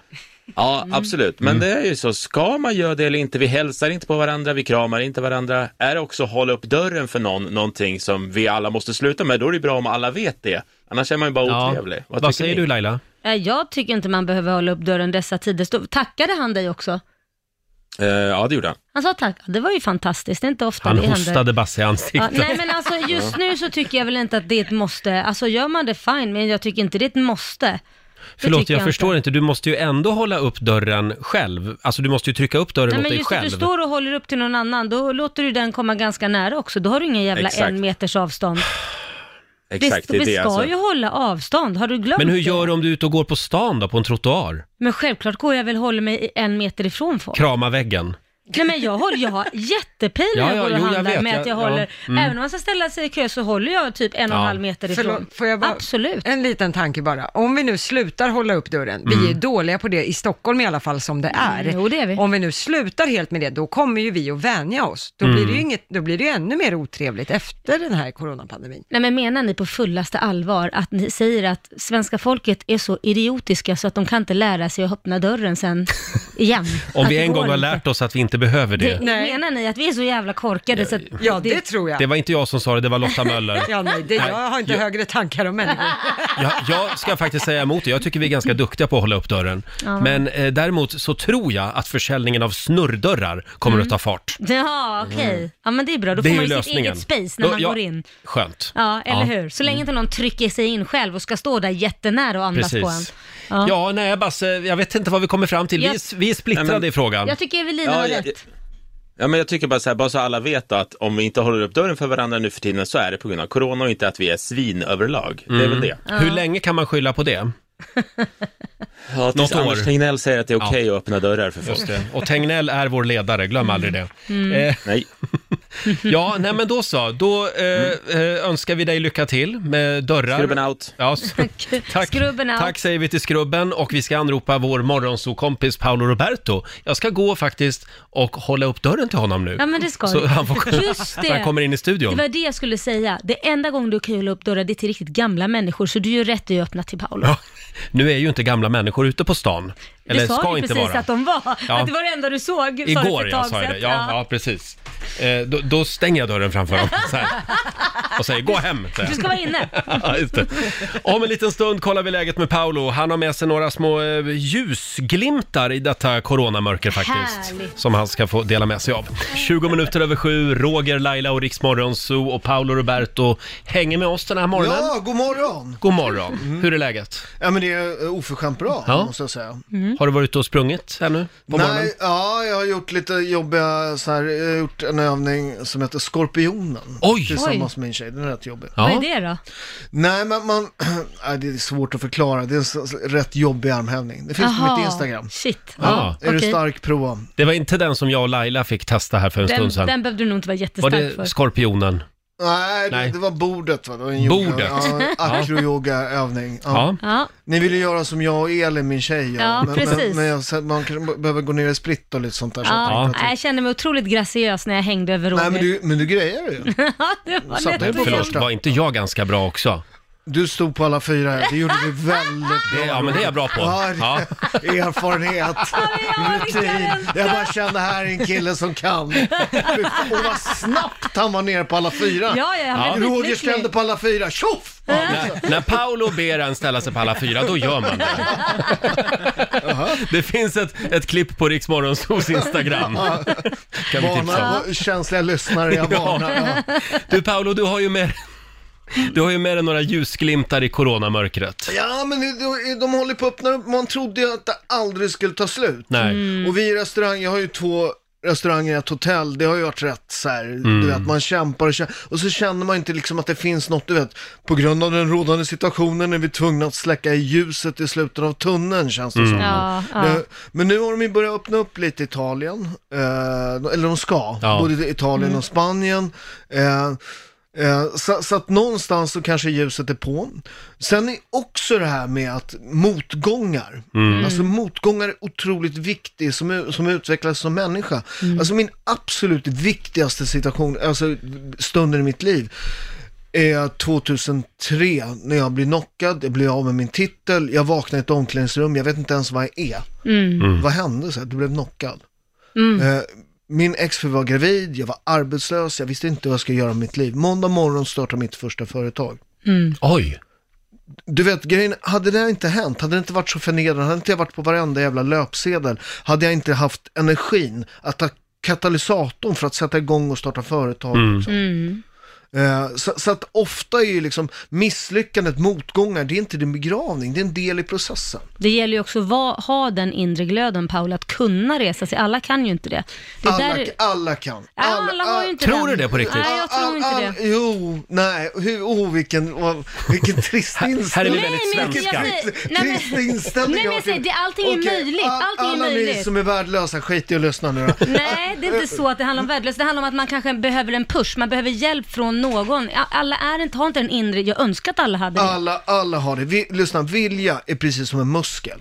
Ja, absolut, men det är ju så, ska man göra det eller inte, vi hälsar inte på varandra, vi kramar inte varandra. Är det också hålla upp dörren för någon, någonting som vi alla måste sluta med, då är det bra om alla vet det. Annars är man ju bara otrevlig.
Vad,
tycker
säger
ni?
du Laila?
Nej, Eh, Jag tycker inte man behöver hålla upp dörren dessa tider. Stå- Tackade han dig också?
Eh, ja, det gjorde han.
Han sa tack. Ja, Det var ju fantastiskt. Det är inte ofta
Han
det händer.
hostade Basse i
Ja,
ansiktet.
nej men alltså just nu så tycker jag väl inte att det är ett måste. Alltså gör man det fine, men jag tycker inte det är ett måste. Det
Förlåt,
tycker
jag,
inte.
förstår inte. Du måste ju ändå hålla upp dörren själv. Alltså du måste ju trycka upp dörren
Nej
åt
men
dig
just att du
själv.
står och håller upp till någon annan, då låter du den komma ganska nära också. Då har du ingen jävla
Exakt.
en meters avstånd.
Exakt, det,
vi
är
vi
det
ska
alltså.
ju hålla avstånd, har du glömt
Men hur
det?
gör du om du är ute och går på stan då, på en trottoar?
Men självklart går jag väl och håller mig en meter ifrån folk.
Krama väggen?
Nej men jag håller, jag har jättepin när
Ja,
jag
ja,
går och
jo, jag
handlar
vet.
med att jag
Ja, ja.
håller, även om man ska ställa sig i kö så håller jag typ en och en
Ja.
halv meter ifrån.
Förlåt, får jag bara,
Absolut.
En liten tanke bara. Om vi nu slutar hålla upp dörren, vi är dåliga på det i Stockholm i alla fall som det är.
Mm, jo, det är vi.
Om vi nu slutar helt med det, då kommer ju vi att vänja oss. Då, blir, det ju inget, då blir det ju ännu mer otrevligt efter den här coronapandemin.
Nej men menar ni på fullaste allvar att ni säger att svenska folket är så idiotiska så att de kan inte lära sig att öppna dörren sen igen?
Om
Att
vi
det
en
går
gång har
inte.
lärt oss att vi inte behöver det.
Nej.
Menar ni att vi är så jävla korkade så att...
Ja, det, tror jag.
Det var inte jag som sa det, det var Lotta Möller.
Ja, nej, det, jag har inte högre tankar om människor.
Jag, jag ska faktiskt säga emot det. Jag tycker vi är ganska duktiga på att hålla upp dörren. Men eh, däremot så tror jag att försäljningen av snurrdörrar kommer att ta fart.
Ja, okej. Ja men det är bra,
Mm. Det
Mm. då får
är
man
ju
ju sitt
lösningen.
eget space när
Då-
man
ja. Mm.
går in.
Skönt.
Ja, eller hur? Så länge inte någon trycker sig in själv och ska stå där jättenära och andas på en.
Precis. Ja. nej Basse, jag vet inte vad vi kommer fram till. Vi,
Jag-
är- vi är splittrade
Nej, men-
i frågan.
Jag tycker Evelina
Ja,
har
jag-
rätt.
Ja, men jag tycker bara så här, bara så alla vet att om vi inte håller upp dörren för varandra nu för tiden så är det på grund av corona och inte att vi är svin överlag. Det är väl det.
Hur länge kan man skylla på det?
Ja, tills
Något år.
Anders Tegnell säger att det är okej att öppna dörrar för folk.
Just det. Och Tegnell är vår ledare, glöm aldrig det.
Mm.
Eh,
Nej,
ja, nej men då så. Då eh, eh, önskar vi dig lycka till med dörrar.
skrubben out.
Ja, s- tack.
Skrubben out.
Tack säger vi till Skrubben och vi ska anropa vår morgonsokompis Paolo Roberto. Jag ska gå faktiskt och hålla upp dörren till honom nu.
Ja men det ska
Så
du.
han får komma-
Just
så han
det.
kommer in i studion.
Det var det jag skulle säga. Det enda gången du kan hålla upp dörrar det är till riktigt gamla människor, så du gör rätt i att öppna till Paolo.
Ja, nu är ju inte gamla människor ute på stan. Eller
det sa
ska
du
inte
precis
vara.
att de var.
Ja.
Att det var det enda du såg. sa du för
Igår
ett
ja,
tag
sa jag det.
sedan.
Ja, ja. precis. Eh, då, då stänger jag dörren framför dem så här. och säger gå hem. Säger
Du
jag.
ska vara inne.
Ja, just det. Om en liten stund kollar vi läget med Paolo. Han har med sig några små eh, ljusglimtar i detta coronamörker faktiskt.
Härligt.
Som han ska få dela med sig av. 20 minuter över sju, Roger, Laila och Riksmorgon Zoo och Paolo Roberto hänger med oss den här morgonen.
Ja, god morgon!
God morgon.
Mm.
Hur är läget?
Ja men det är eh, oförskämt bra,
Ja. Mm.
måste jag säga.
Mm.
Har du varit ute och sprungit ännu? På morgonen?
Nej, ja, jag har gjort lite jobbiga så här, jag har gjort en övning som heter Skorpionen.
Oj!
Tillsammans med min tjej, den är rätt jobbig.
Ja.
Vad är det då?
Nej men man, nej, det är svårt att förklara, det är en så- så- rätt jobbig armhävning. Det finns på mitt Instagram.
Shit.
Ja.
Är du
okej.
stark, prova.
Det var inte den som jag och Laila fick testa här för en
Den,
stund sedan.
den behövde du nog inte vara
var
jättestark för.
det skorpionen?
Nej,
Nej.
Det, det var bordet va? Det var en yoga,
Bordet.
Ja, akroyoga-övning. Ja.
Ja.
Ja,
Ni vill ju göra som jag och Elin, min tjej, gör.
Ja,
men,
precis.
men, men jag, så- man kanske behöver gå ner i spritt och lite sånt där. så jag
ja.
tänkte att-
Jag kände mig otroligt graciös när jag hängde över Roger.
Nej men du, men du grejer det ju.
Ja, det var
Satt
lätt
där
att
på
göra.
Förlåt, var inte jag ganska bra också?
Du stod på alla fyra, här. det gjorde du väldigt bra.
Det- ja, men det är jag bra på.
Ja,
Ja.
Erfarenhet, rutin. Jag bara kände, här är en kille som kan. Och vad snabbt han var nere på alla fyra.
Ja, ja, han blev
Roger
skitlycklig.
ställde på alla fyra, tjoff!
När, när Paolo ber en ställa sig på alla fyra, då gör man det. Det finns ett, ett klipp på Rix Morgonzos Instagram. Kan vi tipsa om.
Varnar, känsliga lyssnare, jag
Ja.
varnar. Ja.
Du Paolo, du har ju med, du har ju med dig några ljusglimtar i coronamörkret.
Ja, men de, de håller på att öppna upp. Man trodde ju att det aldrig skulle ta slut.
Mm.
Nej.
Och vi i restaurang, jag har ju två restauranger, ett hotell, det har ju varit rätt så här,
Mm.
du vet, man kämpar och kämpar. Och så känner man inte liksom att det finns något, du vet, på grund av den rådande situationen är vi tvungna att släcka i ljuset i slutet av tunneln, känns
Mm.
det som.
Ja, ja.
Eh, Men nu har de ju börjat öppna upp lite Italien, eh, eller de ska,
Ja.
både Italien och Spanien. Eh, eh, så, så att någonstans så kanske ljuset är på. Sen är också det här med att motgångar, alltså motgångar är otroligt viktigt som, som utvecklas som människa. Alltså min absolut viktigaste situation, alltså stunden i mitt liv, är 2003 när jag blir knockad, jag blir av med min titel, jag vaknar i ett omklädningsrum, jag vet inte ens vad jag är. Vad hände? Så här, du blev knockad. Eh, Min exfru var gravid, jag var arbetslös, jag visste inte vad jag skulle göra med mitt liv. Måndag morgon startade mitt första företag.
Oj!
Du vet, grejen, hade det här inte hänt, hade det inte varit så förnedrande, hade inte jag varit på varenda jävla löpsedel, hade jag inte haft energin att ta katalysatorn för att sätta igång och starta företag. liksom.
Mm.
Eh, Så, så att ofta är ju liksom misslyckandet, motgångar, det är inte din begravning, det är en del i processen.
Det gäller ju också att va, ha den inre glöden, Paul, att kunna resa sig. Alla kan ju inte det. det
Alla,
där,
alla kan.
alla, har ju inte
Tror
den.
du det på riktigt?
Nej, jag tror inte det.
Jo, nej, hur, oh, vilken, oh, vilken trist inställning.
här är vi
Nej,
väldigt
men jag
svenska.
säger- Nej, men-
Trist inställning
Nej, men jag
har till-
säger, det- allting är
Okej,
möjligt,
all-
allting är
alla ni
möjligt.
som är värdelösa, skit i att lyssna nu då.
Nej, det är inte så att det handlar om värdelöshet. Det handlar om att man kanske behöver en push, man behöver hjälp från någon. A- Alla är inte, har inte den inre, jag önskar att alla hade det.
Alla, alla har det. Vi, lyssna, vilja är precis som en muskel.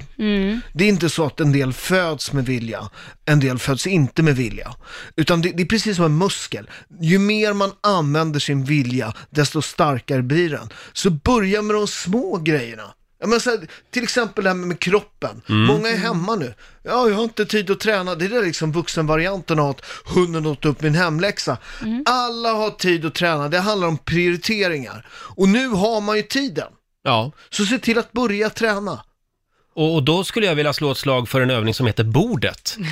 Det är inte så att en del föds med vilja, en del föds inte med vilja. Utan det, det är precis som en muskel. Ju mer man använder sin vilja, desto starkare blir den. Så börja med de små grejerna. Ja, men så här, till exempel det här med kroppen. Många är hemma nu. Ja, jag har inte tid att träna. Det är där liksom vuxenvarianten av att hunden åt upp min hemläxa. Alla har tid att träna. Det handlar om prioriteringar. Och nu har man ju tiden.
Ja.
Så se till att börja träna.
Och, och då skulle jag vilja slå ett slag för en övning som heter bordet. Som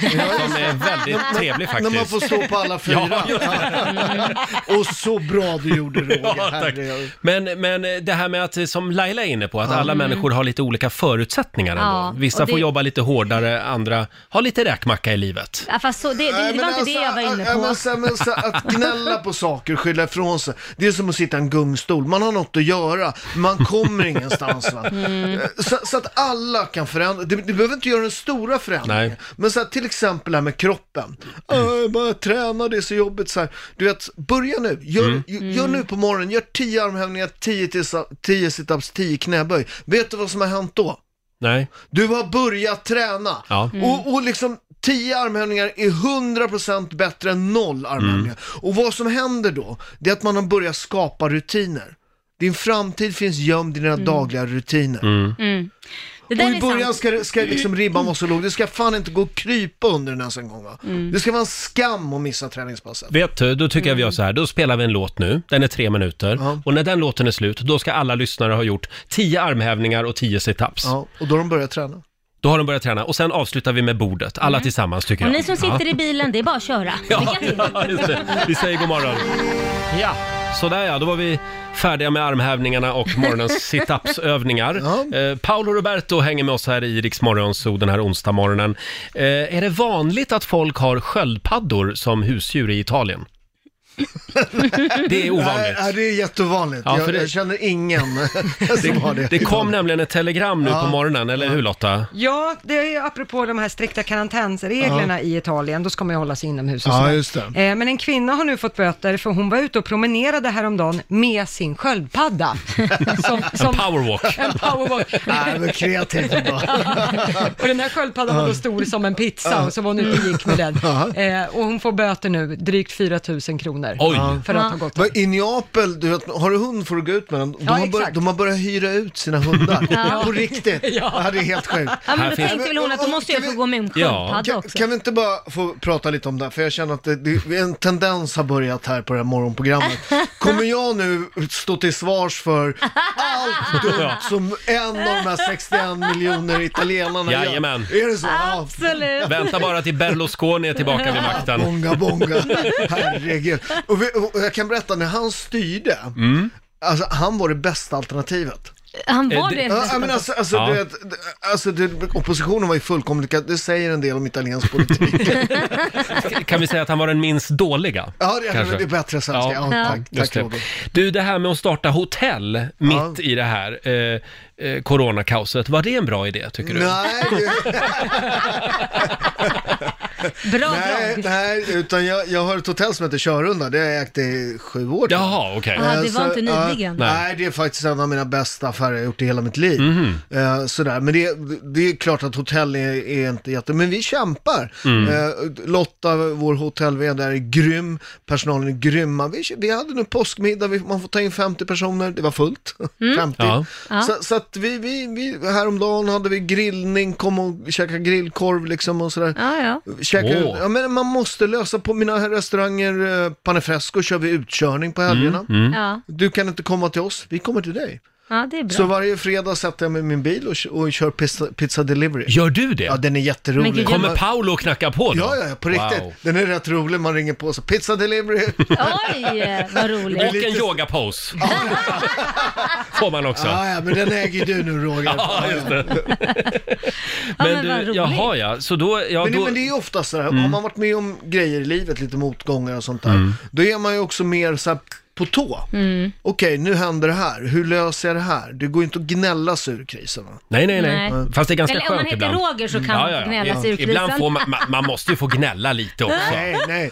är väldigt trevlig
När man
faktiskt.
får stå på alla fyra.
Ja, just
och så bra du gjorde Roger.
Ja, tack.
Herregud.
Men, men det här med att, som Laila är inne på, att alla människor har lite olika förutsättningar ändå.
Mm. Ja,
Vissa
och det-
får jobba lite hårdare, andra har lite räkmacka i livet.
Ja, fast så, det, det,
Nej,
det var
men
inte det jag var inne
äh,
på.
Men, så, men, så, att gnälla på saker, skylla ifrån sig. Det är som att sitta i en gungstol. Man har något att göra, men man kommer ingenstans. Va?
Mm.
Eh, Så, så att alla kan förändra. Du, du behöver inte göra den stora förändringen.
Nej.
Men så här, till exempel det här med kroppen. Äh, bara träna, det är så jobbigt. Så här. Du vet, börja nu. Gör, ju- gör nu på morgonen, gör 10 armhävningar, 10 tisa- 10 situps, 10 knäböj. Vet du vad som har hänt då?
Nej?
Du har börjat träna.
Ja. Mm.
Och, och liksom 10 armhävningar är 100% bättre än 0 armhävningar.
Mm.
Och vad som händer då, det är att man har börjat skapa rutiner. Din framtid finns gömd i dina dagliga rutiner.
Mm.
Mm.
Det
Och
där
i
är
början
sant.
ska, ska liksom ribban vara så låg, det ska fan inte gå att krypa under den ens en gång va?
Mm.
Det ska vara en skam att missa träningspasset.
Vet du, då tycker jag vi gör så här, då spelar vi en låt nu, den är tre minuter,
Ja.
och när den låten är slut, då ska alla lyssnare ha gjort tio armhävningar och tio situps.
Ja, och då har de börjat träna.
Då har de börjat träna, och sen avslutar vi med bordet, alla tillsammans tycker
Mm. Och
jag.
ni som
Ja.
sitter i bilen, det är bara att köra.
Ja,
Lycka till.
ja, just det. Vi säger god morgon. Ja, sådär ja, då var vi färdiga med armhävningarna och morgonens situpsövningar.
Ja.
Eh, Paolo Roberto hänger med oss här i Rix Morgonzoo den här onsdag morgonen. Eh, är det vanligt att folk har sköldpaddor som husdjur i Italien? Det är ovanligt.
Ja, det är jättevanligt.
Ja, för
jag,
det-
jag känner ingen som har det.
Det kom nämligen ett telegram nu på morgonen, eller hur Lotta?
Ja, det är ju apropå de här strikta karantänsreglerna i Italien, då ska man ju hålla sig inomhus och
Ja,
sådär.
just det.
Eh, Men en kvinna har nu fått böter för hon var ute och promenerade häromdagen med sin sköldpadda. som,
En
som
powerwalk.
en powerwalk.
Nej, men kreativt ändå.
och den här sköldpaddan var då stor som en pizza och så var hon ute och gick med den. Eh, och hon får böter nu, drygt 4 000 kronor. sönder.
Oj!
Ja.
För att ha gått
Men I Neapel, du vet, har du hund får du gå ut med den. De,
Ja,
har, börjat,
exakt.
de har börjat hyra ut sina hundar.
Ja.
På riktigt. Ja. Det är helt sjukt.
Ja, men
Här
då
finns-
tänkte väl hon att då måste jag få gå med en
Ja.
sköldpadda
Kan,
också.
kan vi inte bara få prata lite om det här? För jag känner att det, det, en tendens har börjat här på det här morgonprogrammet. Kommer jag nu stå till svars för allt dumt som en av de här 61 miljoner italienarna
Jajamän.
gör? Är det så? Ja.
Absolut.
Vänta bara till Berlusconi är tillbaka vid makten.
Bonga, bonga. Herregud. Och, vi, och jag kan berätta, när han styrde,
Mm.
alltså, han var det bästa alternativet.
Han var
Eh, det-
det.
Ja, ja, men alltså, alltså,
Ja.
du vet, d- alltså det, oppositionen var ju fullkomligt, ka- det säger en del om italiensk politik.
Kan vi säga att han var den minst dåliga?
ja, det,
Kanske.
det är bättre svenska.
Ja.
Ja,
Ja.
tack,
Just
tack
det.
Roger.
Du, det här med att starta hotell
Ja.
mitt i det här eh, eh, coronakaoset, var det en bra idé tycker du?
Nej, det-
Bra
nej,
drag.
nej, utan jag, jag har ett hotell som heter Körunda, det har jag ägt i sju år. tror jag.
Jaha, okej.
Ja, det
Eh,
var
så,
inte
ja,
nyligen.
Nej.
nej. det är faktiskt en av mina bästa affärer jag gjort i hela mitt liv.
Mhm.
Eh, sådär. Men det, det är klart att hotell är, är inte jätte... Men vi kämpar.
Mm.
Eh, Lotta, vår hotell-vd, är grym. Personalen är grymma. Vi, vi hade nu påskmiddag, vi, man får ta in 50 personer. Det var fullt.
Mm.
50.
Ja.
Så, så att vi, vi, vi, häromdagen hade vi grillning, kom och käkade grillkorv liksom och sådär.
Ja, ja.
Käka
Åh.
ut. Ja, men man måste lösa på mina restauranger, eh, Panefresco kör vi utkörning på helgerna.
Mm,
Ja,
Du kan inte komma till oss, vi kommer till dig.
ja, det är bra.
Så varje fredag sätter jag mig i min bil och, och kör pizza, pizza delivery.
Gör du det?
Ja, den är
Men gud,
jätterolig.
Kommer Paolo och knacka på då?
Ja, ja, ja, på riktigt.
Wow.
Den är rätt rolig, man ringer på så pizza delivery.
Oj, vad roligt.
Och en yogapose. Får man också.
ja, ja, men den äger ju du nu Roger.
Ja, just det.
men
Men
vad
du,
roligt.
jaha ja, så då, ja,
Men, det-
då Mm.
men det är ju ofta sådär, har man varit med om grejer i livet, lite motgångar och sånt där, då är man ju också mer såhär på tå.
Mm.
Okej, nu händer det här. Hur löser jag det här? Det går ju inte att gnälla sig ur krisen. va?
Nej, nej, nej.
Nej.
Fast det är ganska
Eller om man
skönt
heter
ibland. Mm.
Roger så kan man gnälla sig ur krisen.
Ibland får man, man, man måste ju få gnälla lite också.
Nej, nej.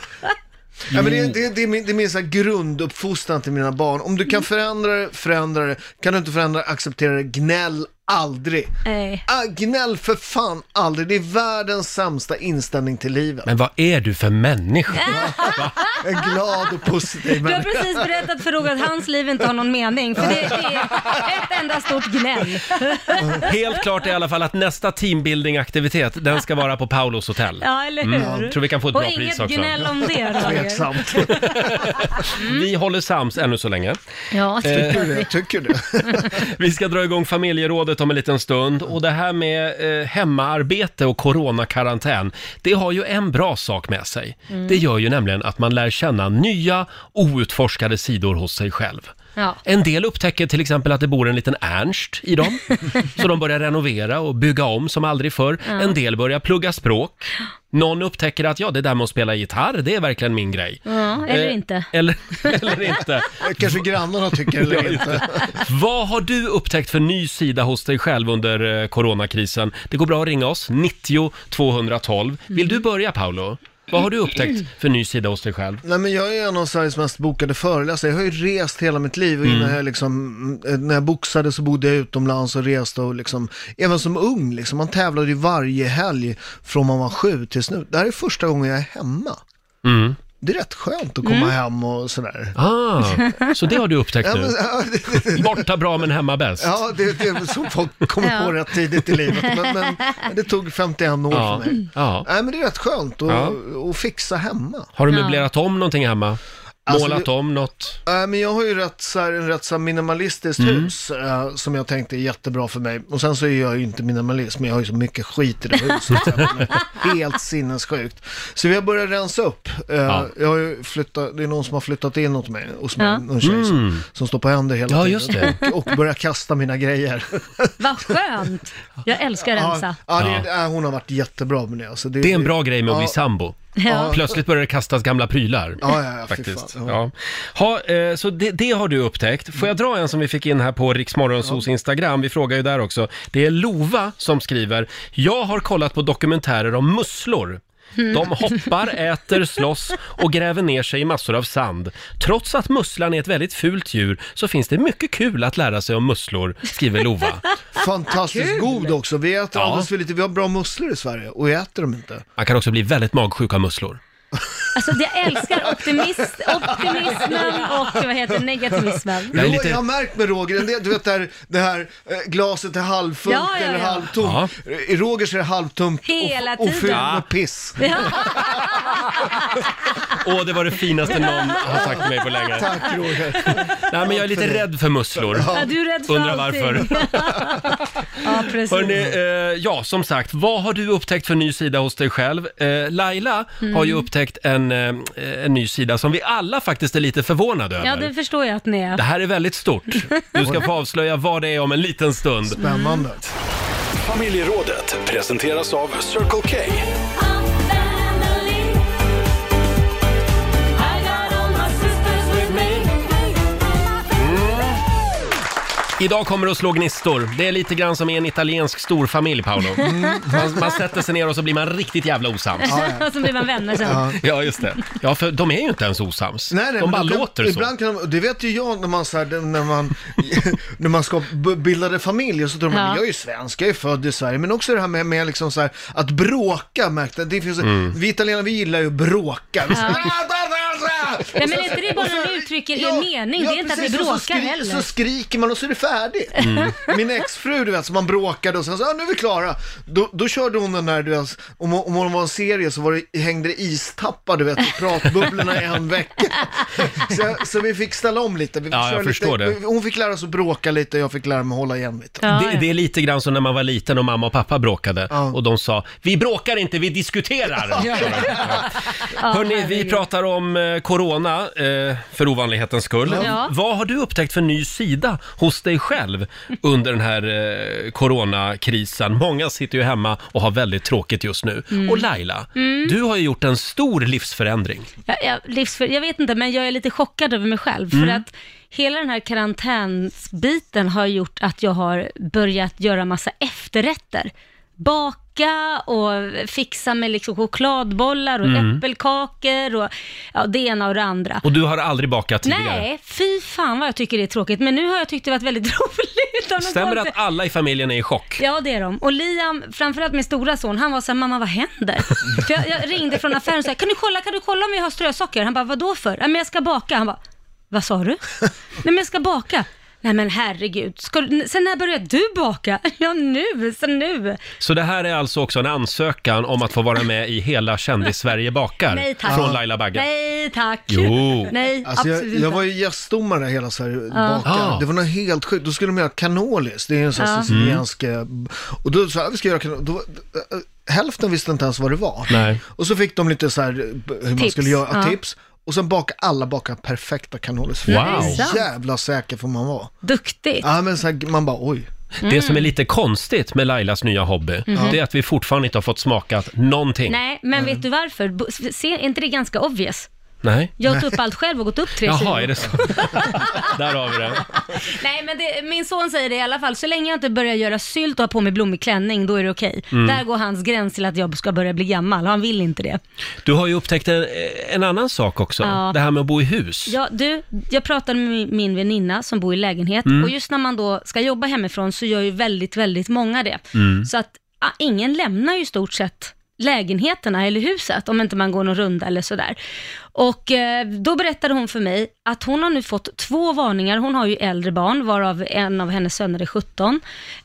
Ja, men det, det, det är min, det är min så här grunduppfostran till mina barn. Om
Mm.
du kan förändra det, förändra det. Kan du inte förändra det, acceptera det. Gnäll aldrig.
Nej.
Ah, gnäll för fan aldrig. Det är världens sämsta inställning till livet.
Men vad är du för människa?
En glad och positiv
Du har
människa.
precis berättat för Roger att hans liv inte har någon mening, för det är ett enda stort gnäll.
Helt klart är i alla fall att nästa teambuilding-aktivitet, den ska vara på Paulos hotell.
Ja, eller hur?
Mm. tror vi kan få ett
Och
bra pris
inget
också.
gnäll om det, Roger.
Tveksamt.
Vi håller sams ännu så länge.
Ja,
Tycker du det? Tycker du det?
Vi ska dra igång familjerådet om en liten stund och det här med eh, hemmaarbete och coronakarantän, det har ju en bra sak med sig.
Mm.
Det gör ju nämligen att man lär känna nya outforskade sidor hos sig själv.
ja.
En del upptäcker till exempel att det bor en liten Ernst i dem, så de börjar renovera och bygga om som aldrig förr. En del börjar plugga språk. Någon upptäcker att ja, det där med att spela gitarr, det är verkligen min grej.
ja eller
Eh,
inte.
Eller, eller inte.
Kanske grannarna tycker eller inte.
Vad har du upptäckt för ny sida hos dig själv under eh, coronakrisen? Det går bra att ringa oss, 90 212. Vill du börja Paolo? Vad har du upptäckt för ny sida hos dig själv?
Nej men jag är en av Sveriges mest bokade föreläsare. Jag har ju rest hela mitt liv och
Mm.
innan jag liksom, eh, när jag boxade så bodde jag utomlands och reste och liksom, även som ung liksom, man tävlade ju varje helg från man var sju tills nu. Det här är första gången jag är hemma.
Mm.
Det är rätt skönt att komma hem och sådär.
Ah, så det har du upptäckt
Ja,
nu.
men, ja, det, det,
Borta bra men hemma bäst.
ja det, det är som folk kommer
Ja.
på rätt tidigt i livet. Men, men det tog 51 år
Ja,
för mig.
ja.
Nej men det är rätt skönt att,
Ja.
att fixa hemma.
Har du möblerat om någonting hemma?
Alltså,
Målat
det-
om något?
Äh, men jag har ju rätt så här, en rätt så här minimalistiskt
Mm.
hus eh, som jag tänkte är jättebra för mig. Och sen så är jag ju inte minimalist, men jag har ju så mycket skit i det huset. så att det är helt sinnessjukt. Så vi har börjat rensa upp. Eh,
Ja.
jag har ju flyttat, det är någon som har flyttat in åt mig, hos mig,
Ja.
någon tjej som, som står på händer hela
Mm. Ja,
tiden.
just det.
Och, och börjar kasta mina grejer.
Vad skönt. Jag älskar
ja,
rensa.
ja, det, ja, hon har varit jättebra med det. Alltså,
Det är en bra grej med att bli
Ja.
sambo.
Ja.
Plötsligt börjar det kastas gamla prylar.
Ja, ja, ja, fy
faktiskt.
fan.
Ja. Ha, eh, så det, det har du upptäckt. Får jag dra en som vi fick in här på Riksmorgonsos Instagram? Vi frågar ju där också. Det är Lova som skriver. Jag har kollat på dokumentärer om musslor.
Hmm.
De hoppar, äter, slåss och gräver ner sig i massor av sand. Trots att musslan är ett väldigt fult djur så finns det mycket kul att lära sig om musslor, skriver Lova.
Fantastiskt god också. Vi äter
Ja.
alldeles för lite. Vi har bra musslor i Sverige och jag äter dem inte.
Man kan också bli väldigt magsjuk av musslor.
Alltså jag älskar optimist, optimismen och vad heter det, negativismen.
Jag är
Jag,
lite-
jag har märkt med Roger, en del, du vet där, det här eh, glaset är halvfullt
Ja, ja,
eller
ja.
halvtomt. Eh,
Ja.
I Rogers är det halvtomt
Hela
och, och fyllt
tiden.
med piss.
Åh, det var det finaste någon har sagt till mig på länge.
Tack
Mm.
Roger.
Nej, men jag är lite rädd för musslor.
Ja, du är rädd för
Undrar
allting.
varför.
ja, precis.
Hörrni, eh, ja som sagt, vad har du upptäckt för ny sida hos dig själv? Eh, Laila har ju upptäckt en, eh, en ny sida som vi alla faktiskt är lite förvånade
ja,
över.
det förstår jag att ni är.
Det här är väldigt stort. Du ska få avslöja vad det är om en liten stund.
Spännande.
Familjerådet presenteras av Circle K.
Idag kommer det att slå gnistor. Det är lite grann som i en italiensk storfamilj, Paolo. Man, man sätter sig ner och så blir man riktigt jävla osams.
Och så blir man vänner sen.
Ja, just det. Ja, för de är ju inte ens osams. de
men
bara
då kan,
låter så.
ibland Kan de, det vet ju jag när man, så här, när man, när man ska b- bildade familj och så tror man,
Ja.
jag är ju svensk, jag är född i Sverige. Men också det här med, med liksom så här, att bråka, märkte det finns,
Mm.
Vi italienare, vi gillar ju att bråka. Vi så-
Nej, men är inte det bara när du uttrycker er mening? det är inte att vi
Alltså, precis, och så
bråkar
skri-
heller.
Så skriker man och så är det färdigt.
Mm.
Min exfru, du vet, som man bråkade och sen så, ah, nu är vi klara. Då, då körde hon den där, du vet, om, om hon var en serie så var det, hängde det istappar, du vet, i pratbubblorna i en vecka. Så, jag- så vi fick ställa om lite. Vi fick
Ja, jag
köra
förstår
lite. Hon fick lära sig att bråka lite, jag fick lära mig att hålla igen lite.
Ja,
Det,
ja.
det är lite grann som när man var liten och mamma och pappa bråkade
Ja.
och de sa “Vi bråkar inte, vi diskuterar”. Ja. Hörni, vi pratar om eh, corona eh, för ovanlighetens skull.
Ja.
Vad har du upptäckt för ny sida hos dig själv under den här eh, coronakrisen? Många sitter ju hemma och har väldigt tråkigt just nu.
Mm.
Och Laila, du har ju gjort en stor livsförändring.
Jag, jag, livsför, jag vet inte, men jag är lite chockad över mig själv. För
Mm.
att hela den här karantänsbiten har gjort att jag har börjat göra massa efterrätter. Baka och fixa med liksom chokladbollar och
Mm.
äppelkakor och ja, det ena och det andra.
Och du har aldrig bakat tidigare.
Nej, fy fan vad jag tycker det är tråkigt. Men nu har jag tyckt det varit väldigt roligt. av någon
Stämmer det
konstig-
att alla i familjen är i chock?
Ja, det är de. Och Liam, framförallt min stora son, han var så här, mamma vad händer? För jag, jag ringde från affären och sa, kan du kolla, kan du kolla om vi har strösocker? Han bara, vadå för? Nej, men jag ska baka. Han bara, vad sa du? Nej, men jag ska baka. Nej men herregud, ska, du- sen när började du baka? Ja nu, sen nu.
Så det här är alltså också en ansökan om att få vara med i Hela Kändis-Sverige bakar?
Nej, tack.
Från Laila Bagge.
Nej tack.
Jo.
Nej,
Alltså jag,
absolut inte.
jag var ju gästdomare hela Sverige
Ah.
bakar. Det var något helt sjukt. Då skulle de göra canolis, det är en sån
Ja.
siciliansk... eh, Och då sa jag, vi ska göra canolis. Då, eh, eh, hälften visste inte ens vad det var.
Nej.
Och så fick de lite så här, eh, b- hur man
Tips.
skulle göra,
Ja.
tips. Och sen bakade alla bakade perfekta canolis.
Wow.
Jävla säker får man vara.
Duktigt.
Ja men så här, man bara oj.
Det som är lite konstigt med Lailas nya hobby, det är att vi fortfarande inte har fått smakat någonting. Nej.
Mhm. Nej,
Mm.
men vet du varför? Bo- Se, är inte det ganska obvious? Jag har åt upp allt själv och gått upp tre kilo.
Jaha, är det så? Där har vi det.
Nej, men det, min son säger det i alla fall. Så länge jag inte börjar göra sylt och ha på mig blommig klänning, då är det okej. Där går hans gräns till att jag ska börja bli gammal. Han vill inte det.
Du har ju upptäckt en, en annan sak också,
Ja.
det här med att bo i hus.
Ja, du, jag pratade med min- min väninna som bor i lägenhet
Mm.
och just när man då ska jobba hemifrån så gör ju väldigt, väldigt många det.
Mm.
Så att ja, ingen lämnar ju i stort sett lägenheterna eller huset om inte man går någon runda eller sådär. Och eh, då berättade hon för mig att hon har nu fått två varningar. Hon har ju äldre barn varav en av hennes söner är 17.